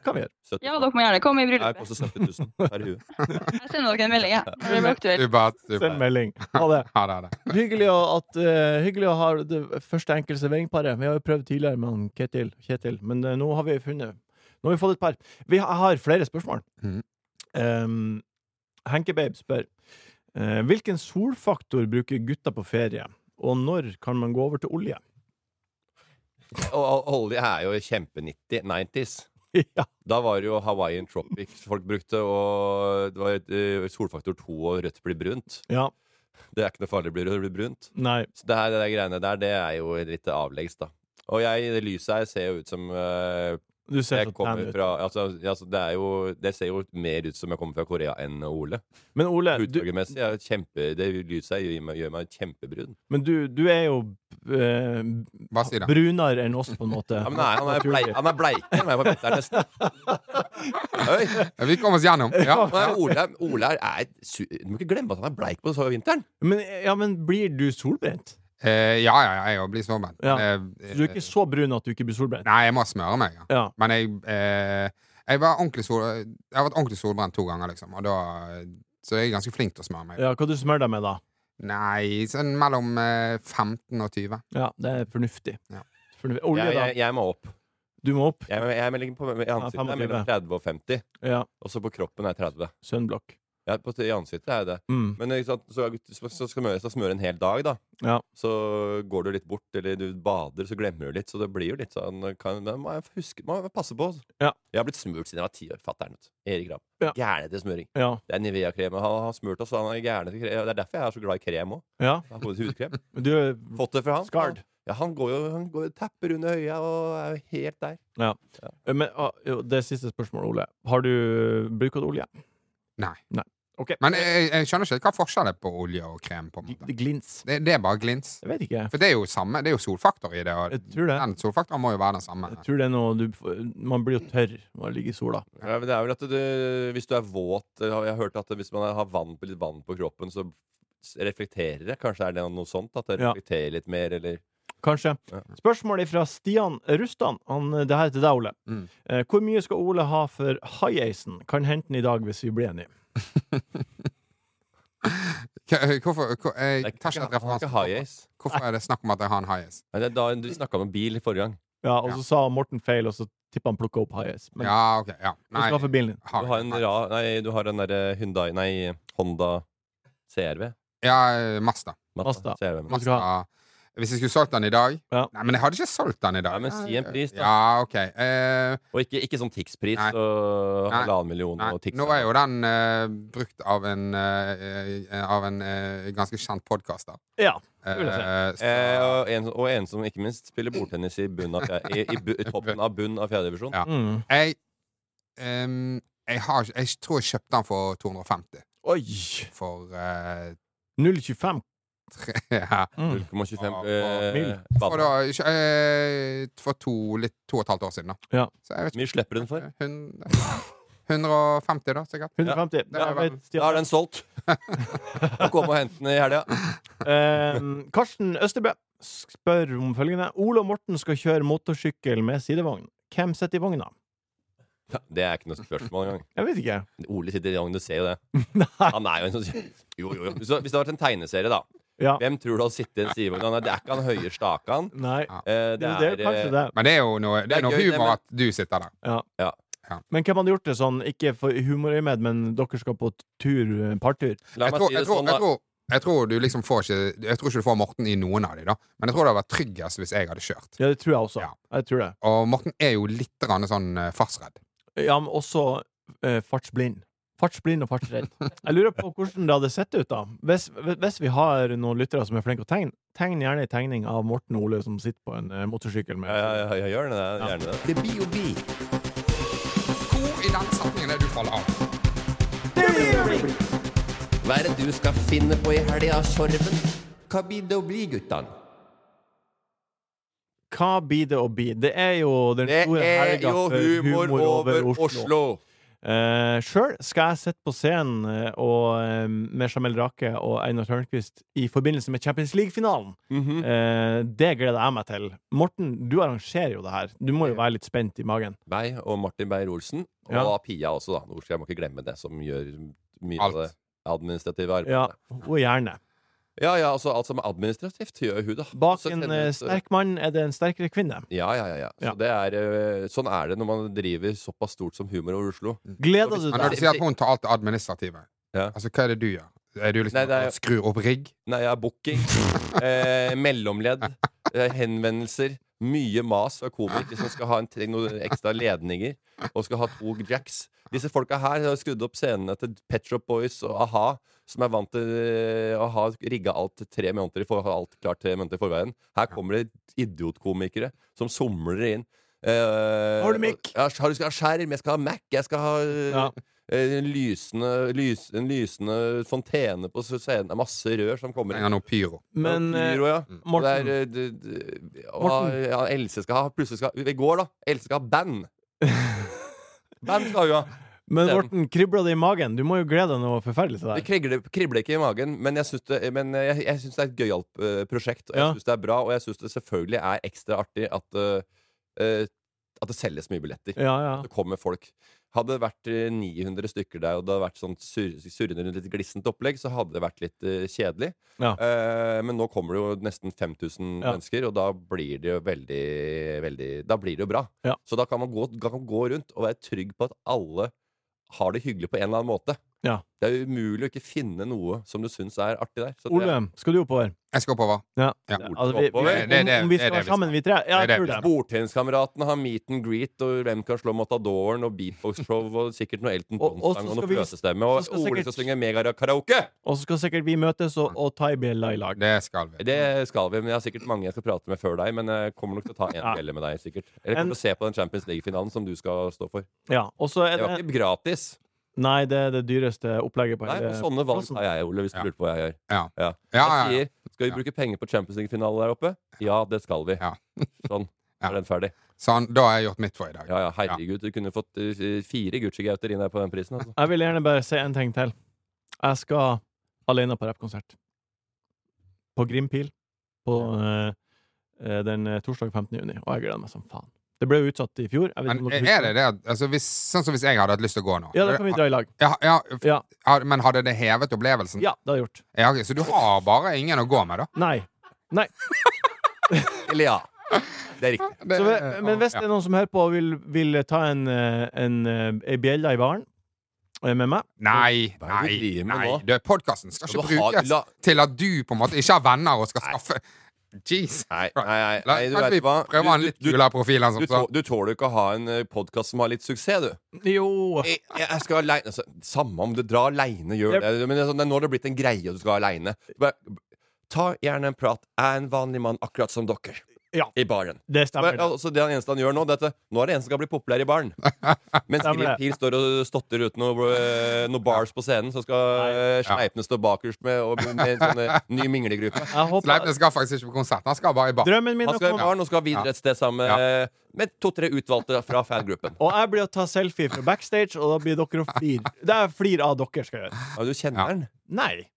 [SPEAKER 2] kan vi gjøre.
[SPEAKER 5] 70
[SPEAKER 6] Ja, dere må gjerne komme i
[SPEAKER 5] Jeg
[SPEAKER 6] bryllupet.
[SPEAKER 5] koster 70 000 per hue.
[SPEAKER 6] Jeg sender dere en melding, jeg. Når det blir aktuelt.
[SPEAKER 4] Supert.
[SPEAKER 2] Send
[SPEAKER 4] supert.
[SPEAKER 2] melding. Ha det.
[SPEAKER 4] Ha det. ha det.
[SPEAKER 2] Hyggelig å, at, eh, hyggelig å ha det første enkeltserveringparet. Vi har jo prøvd tidligere med han Ketil, Kjetil, men eh, nå har vi funnet Nå har vi fått et par. Vi har, har flere spørsmål.
[SPEAKER 5] Mm.
[SPEAKER 4] Mhm.
[SPEAKER 2] Um, Henkebabe spør eh, Hvilken solfaktor bruker gutta på ferie, og når kan man gå over til
[SPEAKER 5] [laughs]
[SPEAKER 2] olje?
[SPEAKER 5] Og og olje er jo kjempe-90s.
[SPEAKER 2] ja.
[SPEAKER 5] Da var det jo Hawaiian Tropics folk brukte, og det var eh, solfaktor 2 og rødt blir brunt.
[SPEAKER 2] ja.
[SPEAKER 5] Det er ikke noe farlig å bli rødt, det blir brunt.
[SPEAKER 2] Nei.
[SPEAKER 5] Så det her, det der greiene der, det er jo litt avleggs, da. Og jeg, det lyset her ser jo ut som eh,
[SPEAKER 2] Du ser
[SPEAKER 5] jeg
[SPEAKER 2] så tan
[SPEAKER 5] kommer
[SPEAKER 2] ut.
[SPEAKER 5] fra altså, altså, det, er jo, det ser jo mer ut som jeg kommer fra Korea enn Ole.
[SPEAKER 2] Men Ole, du,
[SPEAKER 5] Utdragermessig er jo kjempe, det lyset her gjør meg, gjør meg kjempebrun.
[SPEAKER 2] men du, du er jo eh,
[SPEAKER 4] Hva sier han?
[SPEAKER 2] brunere enn oss, på en måte.
[SPEAKER 5] Ja, men nei, han er, blei, han er bleikere enn meg på vinteren nesten. Oi,
[SPEAKER 4] Vi kommer oss gjennom. Ja.
[SPEAKER 5] men Ole, Ole er, er su Du må ikke glemme at han er bleik på så vinteren.
[SPEAKER 2] Men, ja, men blir du solbrent?
[SPEAKER 4] Eh, ja, ja, ja, jeg blir solbrent.
[SPEAKER 2] Ja.
[SPEAKER 4] Eh,
[SPEAKER 2] Så du er ikke så brun at du ikke blir solbrent?
[SPEAKER 4] Nei, jeg må smøre meg. Ja.
[SPEAKER 2] Ja.
[SPEAKER 4] Men jeg, eh, jeg, var ordentlig sol, jeg har vært ordentlig solbrent to ganger, liksom. Og da, så jeg er ganske flink til å smøre meg.
[SPEAKER 2] ja. Hva du smører deg med, da?
[SPEAKER 4] Nei, sånn mellom eh, 15 og 20.
[SPEAKER 2] Ja, det er fornuftig.
[SPEAKER 4] Ja.
[SPEAKER 2] Fornuftig.
[SPEAKER 5] Jeg,
[SPEAKER 2] Olje, da.
[SPEAKER 5] jeg, jeg må opp.
[SPEAKER 2] Du må opp.
[SPEAKER 5] Jeg, jeg, er mellom- på, I ansiktet er jeg mellom
[SPEAKER 2] 25.
[SPEAKER 5] 30 og 50,
[SPEAKER 2] Ja.
[SPEAKER 5] og så på kroppen er jeg 30.
[SPEAKER 2] Sunblock.
[SPEAKER 5] Ja, på, I ansiktet er jeg det.
[SPEAKER 2] Mm.
[SPEAKER 5] Men ikke sant, så, så, så skal man smøre en hel dag, da.
[SPEAKER 2] Ja.
[SPEAKER 5] Så går du litt bort, eller du bader, så glemmer du litt. Så det blir jo litt sånn kan, Men må jeg huske, må jeg passe på. altså.
[SPEAKER 2] Ja.
[SPEAKER 5] Jeg har blitt smurt siden jeg var ti år. Fatter'n. Erik Gram.
[SPEAKER 2] Ja.
[SPEAKER 5] Gæren etter smøring.
[SPEAKER 2] ja.
[SPEAKER 5] Det er Nivea-krem. og Han har smurt oss, så han er gæren etter krem. Det er derfor jeg er så glad i krem òg.
[SPEAKER 2] ja. [laughs]
[SPEAKER 5] Hudkrem.
[SPEAKER 2] Men Du er
[SPEAKER 5] Fått det fra han.
[SPEAKER 2] skard.
[SPEAKER 5] Ja, han går jo han går, jo- tapper under øya og er jo helt der.
[SPEAKER 2] Men ah, jo, det siste spørsmålet, Ole. Har du bruker du olje?
[SPEAKER 4] Nei.
[SPEAKER 2] Nei. eh, Ok.
[SPEAKER 4] Men jeg, jeg skjønner ikke hva forskjellen er på olje og krem. på en måte.
[SPEAKER 2] Gl- Glins.
[SPEAKER 4] Det, det er bare glins.
[SPEAKER 2] Jeg vet ikke.
[SPEAKER 4] For det er jo samme, det er jo solfaktor i det. Og
[SPEAKER 2] Jeg tror det.
[SPEAKER 4] den solfaktoren må jo være den samme.
[SPEAKER 2] Jeg tror det er noe du Man blir jo tørr når man ligger i sola.
[SPEAKER 5] Ja, men det er vel at du, hvis du er våt Jeg har jeg har hørt at hvis man har vann, litt vann på kroppen, så reflekterer det. Kanskje er det noe sånt? At det
[SPEAKER 2] Ja.
[SPEAKER 5] reflekterer litt mer, eller
[SPEAKER 2] Kanskje.
[SPEAKER 5] Ja.
[SPEAKER 2] Spørsmål fra Stian Rustan. Han, det her er til deg, Ole.
[SPEAKER 4] Mm.
[SPEAKER 2] Eh, Hvor mye skal Ole ha for high-acen? Kan hente den i dag hvis vi blir enige.
[SPEAKER 4] K- Hvorfor, hvor, jeg tar
[SPEAKER 5] Jeg
[SPEAKER 4] ikke et
[SPEAKER 5] har ikke high
[SPEAKER 4] referanse.
[SPEAKER 5] ace.
[SPEAKER 4] Hvorfor er det snakk om at jeg har en high ace?
[SPEAKER 5] Nei, det er da du snakka om bil i forrige gang.
[SPEAKER 2] Ja, og
[SPEAKER 4] Ja.
[SPEAKER 2] så sa Morten feil, og så tippa han plukka opp high-ace. Men
[SPEAKER 4] Ja, ok. Ja.
[SPEAKER 2] du skal ha for bilen din.
[SPEAKER 4] har
[SPEAKER 5] Du har en
[SPEAKER 4] jeg-
[SPEAKER 5] ra, nei, du har den derre Hyundai Nei, Honda CRV.
[SPEAKER 4] Ja, Masta.
[SPEAKER 5] Mazda
[SPEAKER 2] Mazda.
[SPEAKER 5] CRV.
[SPEAKER 2] Hva skal du ha?
[SPEAKER 4] Mazda. Hvis jeg skulle solgt den i dag
[SPEAKER 2] Ja.
[SPEAKER 4] Nei, men jeg hadde ikke solgt den i dag.
[SPEAKER 5] Ja, men si en pris, da.
[SPEAKER 4] Ja, ok. Eh,
[SPEAKER 5] Og ikke, ikke sånn Tix-pris
[SPEAKER 4] Nei.
[SPEAKER 5] og
[SPEAKER 4] Nei.
[SPEAKER 5] halvannen million
[SPEAKER 4] nei,
[SPEAKER 5] og Tix.
[SPEAKER 4] nå er jo den eh, brukt av en, eh, eh, av en eh, ganske kjent podkaster.
[SPEAKER 2] Ja.
[SPEAKER 4] Eh,
[SPEAKER 2] Det vil jeg
[SPEAKER 4] så-
[SPEAKER 5] Eh, og, en, og en som ikke minst spiller bordtennis i, bunn av, fjer- i, i, bu- i toppen av bunn av fjerde divisjon.
[SPEAKER 4] Ja.
[SPEAKER 2] Mm.
[SPEAKER 4] jeg, ehm, jeg, har, ikke- jeg tror jeg kjøpte den for 250.
[SPEAKER 2] Oi!
[SPEAKER 4] For eh, [laughs]
[SPEAKER 2] 0,25.
[SPEAKER 4] ja.
[SPEAKER 2] Mm.
[SPEAKER 5] 0,25
[SPEAKER 4] Ja,
[SPEAKER 5] eh,
[SPEAKER 2] mil.
[SPEAKER 4] For,
[SPEAKER 5] vann.
[SPEAKER 4] da, ikke- eh, for to, litt, to og et halvt år siden, da.
[SPEAKER 2] Ja.
[SPEAKER 4] Så jeg vet
[SPEAKER 5] Hvor mye slipper den for?
[SPEAKER 4] ikke. Hun, 150, da, sikkert.
[SPEAKER 2] 150.
[SPEAKER 4] Ja,
[SPEAKER 2] Jeg vet,
[SPEAKER 5] Da er
[SPEAKER 2] Stian.
[SPEAKER 5] den solgt. [laughs] Og kom og hent den i helga.
[SPEAKER 2] Eh, Karsten Østerbø spør om følgende. Ole og Morten skal kjøre motorsykkel med sidevogn. Hvem sitter i vogna?
[SPEAKER 5] Det er ikke noe spørsmål engang.
[SPEAKER 2] Jeg vet ikke.
[SPEAKER 5] Ole sitter i gangen, du ser jo det.
[SPEAKER 2] Nei.
[SPEAKER 5] Han er jo en sånn [laughs] Jo, jo, jo. Så, hvis det hadde vært en tegneserie, da.
[SPEAKER 2] Ja.
[SPEAKER 5] Hvem tror du hadde sittet i en sidevogn? Han er- Det er ikke han høye stakan.
[SPEAKER 2] Nei.
[SPEAKER 5] Eh,
[SPEAKER 2] Det er jo
[SPEAKER 5] eh,
[SPEAKER 2] kanskje det.
[SPEAKER 4] Men det er jo noe, det
[SPEAKER 5] Det
[SPEAKER 4] er
[SPEAKER 5] er
[SPEAKER 4] noe
[SPEAKER 5] gøy, det,
[SPEAKER 4] humor
[SPEAKER 5] men-
[SPEAKER 4] at du sitter der.
[SPEAKER 2] Ja.
[SPEAKER 5] Ja.
[SPEAKER 4] Ja.
[SPEAKER 2] Men hvem hadde gjort det sånn, ikke for humorøyemed, men dere skal på tur, eh, partur?
[SPEAKER 5] La
[SPEAKER 4] Jeg
[SPEAKER 5] meg
[SPEAKER 4] tror,
[SPEAKER 5] si
[SPEAKER 4] jeg,
[SPEAKER 5] det
[SPEAKER 4] tror,
[SPEAKER 5] sånn,
[SPEAKER 4] jeg,
[SPEAKER 5] da.
[SPEAKER 4] tror, jeg tror du liksom får ikke Jeg tror ikke du får Morten i noen av de da. Men jeg tror det hadde vært tryggest hvis jeg hadde kjørt.
[SPEAKER 2] Ja, det tror jeg også.
[SPEAKER 4] Ja.
[SPEAKER 2] Jeg tror det.
[SPEAKER 4] Og Morten er jo litt grann sånn eh, fartsredd.
[SPEAKER 2] Ja, men også eh, fartsblind. Fartsblind og fartsredd. Jeg lurer på hvordan det hadde sett ut, da. Hvis, hvis vi har noen lyttere som er flinke til å tegne, tegn gjerne en tegning av Morten og Ole som sitter på en eh, motorsykkel med
[SPEAKER 5] Ja, ja, ja, jeg gjør det. det er Gjerne det.
[SPEAKER 3] Det blir jo bil.
[SPEAKER 4] Hvor i den setningen er du faller av?
[SPEAKER 3] Hva er det du skal finne på i helga, Sorven? Hva blir det å bli, guttan?
[SPEAKER 2] Hva blir det å bli? Det er jo den
[SPEAKER 5] Det
[SPEAKER 2] store
[SPEAKER 5] er
[SPEAKER 2] helga
[SPEAKER 5] jo
[SPEAKER 2] for
[SPEAKER 5] humor over Oslo.
[SPEAKER 2] Uh, Sjøl skal jeg sitte på scenen eh, og, eh, med Jamel Rake og Einar Tørnquist i forbindelse med Champions League-finalen. [laughs]
[SPEAKER 5] Mhm.
[SPEAKER 2] Eh, det gleder jeg meg til. Morten, du arrangerer jo det her. Du må jo være litt spent i magen.
[SPEAKER 5] Meg og Martin Beyer-Olsen. Og
[SPEAKER 2] Ja.
[SPEAKER 5] Pia også, da. Hvor skal jeg må ikke glemme det, som gjør mye
[SPEAKER 4] Alt.
[SPEAKER 5] av det administrative arbeidet.
[SPEAKER 2] Ja,
[SPEAKER 4] [laughs]
[SPEAKER 2] og gjerne.
[SPEAKER 5] ja, ja, altså alt som er administrativt, gjør hun, da.
[SPEAKER 2] Bak
[SPEAKER 5] Så
[SPEAKER 2] en
[SPEAKER 5] tenner
[SPEAKER 2] eh,
[SPEAKER 5] hun ut-
[SPEAKER 2] sterk mann er det en sterkere kvinne.
[SPEAKER 5] Ja, ja, ja. ja.
[SPEAKER 2] Ja.
[SPEAKER 5] Så det er, eh, sånn er det når man driver såpass stort som Humor over Oslo.
[SPEAKER 4] Mm.
[SPEAKER 2] Gleder du
[SPEAKER 4] Men når du
[SPEAKER 2] deg?
[SPEAKER 4] sier at hun tar alt det administrative,
[SPEAKER 5] Ja.
[SPEAKER 4] altså hva er det du gjør? Er du liksom
[SPEAKER 5] Nei, det er-
[SPEAKER 4] skru opp rigg?
[SPEAKER 5] Nei, jeg har booking, eh, mellomledd, eh, henvendelser. Mye mas fra komikere som skal ha en, trenger noen ekstra ledninger og skal ha to jacks. Disse folka her har skrudd opp scenene til Pet Shop Boys og A-ha, som er vant til eh, å ha rigga alt tre måneder i for, ha alt klart tre måneder i forveien. Her kommer det idiotkomikere som somler inn. Eh,
[SPEAKER 2] Har du mikk?
[SPEAKER 5] Ja, har du- skal ha skjerm, jeg skal ha Mac, jeg skal ha eh,
[SPEAKER 2] Ja.
[SPEAKER 5] eh, en lysende, lys, en lysende fontene på scenen. Det er masse rør som kommer
[SPEAKER 4] Trenger
[SPEAKER 5] inn.
[SPEAKER 4] noe pyro?
[SPEAKER 2] Men
[SPEAKER 5] Ja,
[SPEAKER 2] eh,
[SPEAKER 5] pyro, ja. Og det
[SPEAKER 2] Morten.
[SPEAKER 5] er, eh, det- det-
[SPEAKER 2] Morten.
[SPEAKER 5] ja, ja, Else skal ha Plutselig skal I går, da. Else skal ha band. band skal hun ha.
[SPEAKER 2] Men
[SPEAKER 5] Den.
[SPEAKER 2] Morten, kribler det i magen? Du må jo glede deg noe forferdelig til det
[SPEAKER 5] Det
[SPEAKER 2] her.
[SPEAKER 5] kribler, kribler ikke i magen, men jeg syns det, men jeg, jeg synes det er et gøyalt eh, prosjekt. Og jeg
[SPEAKER 2] Ja.
[SPEAKER 5] syns det er bra, og jeg syns det selvfølgelig er ekstra artig at, eh, eh, at det selges mye billetter.
[SPEAKER 2] Ja, ja.
[SPEAKER 5] Det kommer folk. Hadde det vært eh, 900 stykker der, og det hadde vært sånn sur surrende rundt litt glissent opplegg, så hadde det vært litt eh, kjedelig.
[SPEAKER 2] Ja.
[SPEAKER 5] Eh, men nå kommer det jo nesten 5000
[SPEAKER 2] Ja.
[SPEAKER 5] mennesker, og da blir det jo veldig, veldig Da blir det jo bra.
[SPEAKER 2] Ja.
[SPEAKER 5] Så da kan man gå, kan man gå rundt og være trygg på at alle har det hyggelig på en eller annen måte.
[SPEAKER 2] Ja.
[SPEAKER 5] Det er jo umulig å ikke finne noe som du syns er artig der. Så det-
[SPEAKER 2] Ole, skal du oppover?
[SPEAKER 4] Jeg skal oppover.
[SPEAKER 2] Ja.
[SPEAKER 4] Ja.
[SPEAKER 2] Altså, vi, vi,
[SPEAKER 5] oppover.
[SPEAKER 2] om,
[SPEAKER 4] Det er det-
[SPEAKER 2] om vi
[SPEAKER 4] det
[SPEAKER 2] skal
[SPEAKER 4] er det
[SPEAKER 2] være
[SPEAKER 4] vi
[SPEAKER 2] sammen, vi tre? Ja,
[SPEAKER 4] Det er
[SPEAKER 2] jeg
[SPEAKER 4] det
[SPEAKER 2] tror
[SPEAKER 4] vi
[SPEAKER 2] det.
[SPEAKER 5] Bordtenniskameratene har meet and greet, og hvem kan slå Matadoren, og beatbox-show, og sikkert noe Elton
[SPEAKER 2] [laughs] Og- og så
[SPEAKER 5] John-sang, og noe
[SPEAKER 2] skal vi-
[SPEAKER 5] fløtestemme,
[SPEAKER 2] så
[SPEAKER 5] og
[SPEAKER 2] skal
[SPEAKER 5] Ole
[SPEAKER 2] sikkert-
[SPEAKER 5] skal synge megakaraoke!
[SPEAKER 2] Og så skal sikkert vi møtes og, og ta i bjella i lag.
[SPEAKER 4] Det skal vi.
[SPEAKER 5] Det skal vi, men jeg har sikkert mange jeg skal prate med før deg, men jeg kommer nok til å ta en
[SPEAKER 2] Ja.
[SPEAKER 5] bjelle med deg, sikkert. Eller jeg
[SPEAKER 2] En-
[SPEAKER 5] kommer til å se på den Champions League-finalen som du skal stå for.
[SPEAKER 2] Ja, og så er
[SPEAKER 5] Det var
[SPEAKER 2] det
[SPEAKER 5] ikke gratis.
[SPEAKER 2] Nei, det er det dyreste opplegget på
[SPEAKER 5] Nei,
[SPEAKER 2] hele
[SPEAKER 5] og sånne valg
[SPEAKER 2] plassen.
[SPEAKER 5] tar jeg, Ole, hvis du
[SPEAKER 4] Ja.
[SPEAKER 5] lurte på hva jeg gjør.
[SPEAKER 4] Ja.
[SPEAKER 5] Ja.
[SPEAKER 4] Ja, ja, ja.
[SPEAKER 5] Jeg sier, skal vi bruke penger på Champions League-finale der oppe? Ja, det skal vi.
[SPEAKER 4] Ja.
[SPEAKER 5] [laughs] Sånn.
[SPEAKER 4] Ja.
[SPEAKER 5] Er den ferdig?
[SPEAKER 4] Sånn, da har jeg gjort mitt for i dag.
[SPEAKER 5] Ja ja, herregud, du kunne fått eh, fire Gucci-gauter inn her på den prisen, altså.
[SPEAKER 2] Jeg vil gjerne bare si en ting til. Jeg skal alene på rappkonsert. På Grimpil. På eh, eh, den eh, torsdag 15. juni. Og jeg gleder meg som faen. Det ble jo utsatt i fjor. Jeg vet ikke
[SPEAKER 4] Men
[SPEAKER 2] om dere
[SPEAKER 4] er
[SPEAKER 2] husker
[SPEAKER 4] det det? Altså, hvis, sånn som hvis jeg hadde hatt lyst til å gå nå.
[SPEAKER 2] Ja, da kan vi dra i lag.
[SPEAKER 4] Ja, ja, f-
[SPEAKER 2] Ja.
[SPEAKER 4] ja, men hadde det hevet opplevelsen?
[SPEAKER 2] Ja, det har jeg gjort.
[SPEAKER 4] Ja, ok, så du har bare ingen å gå med, da?
[SPEAKER 2] Nei. Nei.
[SPEAKER 5] Eller ja. Det er riktig.
[SPEAKER 4] Det-
[SPEAKER 2] Så, vi-
[SPEAKER 4] eh,
[SPEAKER 2] men hvis
[SPEAKER 4] [laughs] ja.
[SPEAKER 2] det er noen som hører på og vil, vil ta en, eh, en, eh, ei bjelle i baren eh, med meg
[SPEAKER 4] Nei,
[SPEAKER 5] Hva er det du
[SPEAKER 4] nei,
[SPEAKER 5] driver med
[SPEAKER 4] nei.
[SPEAKER 5] nå?
[SPEAKER 4] Du, podkasten skal
[SPEAKER 5] Skal
[SPEAKER 4] ikke
[SPEAKER 5] du ha-
[SPEAKER 4] brukes
[SPEAKER 5] la-
[SPEAKER 4] til at du på en måte ikke har venner og skal skaffe Jeez.
[SPEAKER 5] Nei, nei, nei,
[SPEAKER 4] La,
[SPEAKER 5] nei du
[SPEAKER 4] kanskje vi
[SPEAKER 5] vet hva.
[SPEAKER 4] prøver å ha en litt
[SPEAKER 5] du, du,
[SPEAKER 4] kulere profil enn
[SPEAKER 5] du,
[SPEAKER 4] som så.
[SPEAKER 5] tå- du tåler jo ikke å ha en podkast som har litt suksess, du.
[SPEAKER 2] Jo!
[SPEAKER 5] Jeg, jeg skal aleine altså, Samme om du drar aleine, gjør
[SPEAKER 2] Yep.
[SPEAKER 5] det. Men det er sånn, det er nå har det blitt en greie at du skal aleine. Ta gjerne en prat. Jeg er en vanlig mann, akkurat som dere.
[SPEAKER 2] Ja.
[SPEAKER 5] I baren.
[SPEAKER 2] Det stemmer.
[SPEAKER 5] Men,
[SPEAKER 2] det.
[SPEAKER 5] altså, det han eneste han gjør nå, det er at nå er det en som skal bli populær i baren. Mens
[SPEAKER 2] Stemmer det.
[SPEAKER 5] Gripil står og stotter ut noe, eh, noe bars på scenen, så skal eh, Sleipne stå bakerst med, og- med en sånn eh, ny minglegruppe.
[SPEAKER 2] Jeg håper,
[SPEAKER 4] Sleipnes skal faktisk ikke på konsert. Han skal bare i bar.
[SPEAKER 2] drømmen min er å
[SPEAKER 5] Han skal i
[SPEAKER 2] komme
[SPEAKER 5] baren og skal videre et sted sammen med, med to-tre utvalgte fra fangruppen.
[SPEAKER 2] Og jeg blir å ta selfie fra backstage, og da blir dere å flire. Det er flir av dere skal gjøre.
[SPEAKER 5] Ja, du kjenner den?
[SPEAKER 2] Nei.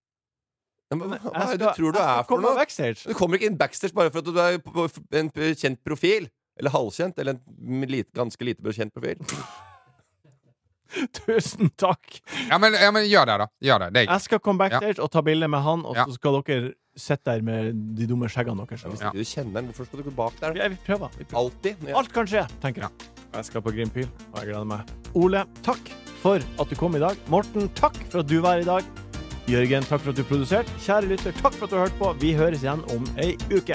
[SPEAKER 5] Ja, men,
[SPEAKER 2] Jeg
[SPEAKER 5] hva hva er det
[SPEAKER 2] skal-
[SPEAKER 5] du tror du
[SPEAKER 2] jeg skal
[SPEAKER 5] er for
[SPEAKER 2] komme
[SPEAKER 5] noe?
[SPEAKER 2] backstage.
[SPEAKER 5] [laughs] Du kommer ikke inn backstage bare for at du er på- på en p- kjent profil. Eller halvkjent, eller en lite, ganske lite bekjent profil.
[SPEAKER 2] Tusen takk.
[SPEAKER 4] Ja men, ja, men gjør det, da. Gjør det. det er
[SPEAKER 2] Jeg skal komme backstage og ta bilde med han, og
[SPEAKER 4] Ja.
[SPEAKER 2] så skal dere sitte der med de dumme skjeggene deres.
[SPEAKER 5] Hvis
[SPEAKER 2] Ja.
[SPEAKER 5] ikke du kjenner den, hvorfor skal du gå bak der?
[SPEAKER 2] Vi prøver. Vi prøver.
[SPEAKER 5] Alltid. når jeg-
[SPEAKER 2] Alt kan skje, tenker jeg. Jeg skal på Green Pil, og jeg gleder meg. Ole, takk for at du kom i dag. Morten, takk for at du var her i dag. Jørgen, takk for at du produserte. Kjære lytter, takk for at du hørte på. Vi høres igjen om ei uke.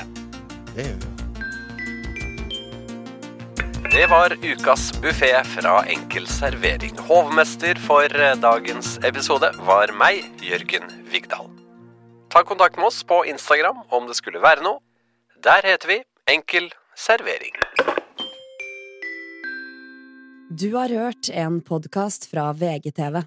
[SPEAKER 7] Det var ukas buffé fra Enkel servering. Hovmester for dagens episode var meg, Jørgen Vigdal. Ta kontakt med oss på Instagram om det skulle være noe. Der heter vi Enkel servering.
[SPEAKER 8] Du har hørt en podkast fra VGTV.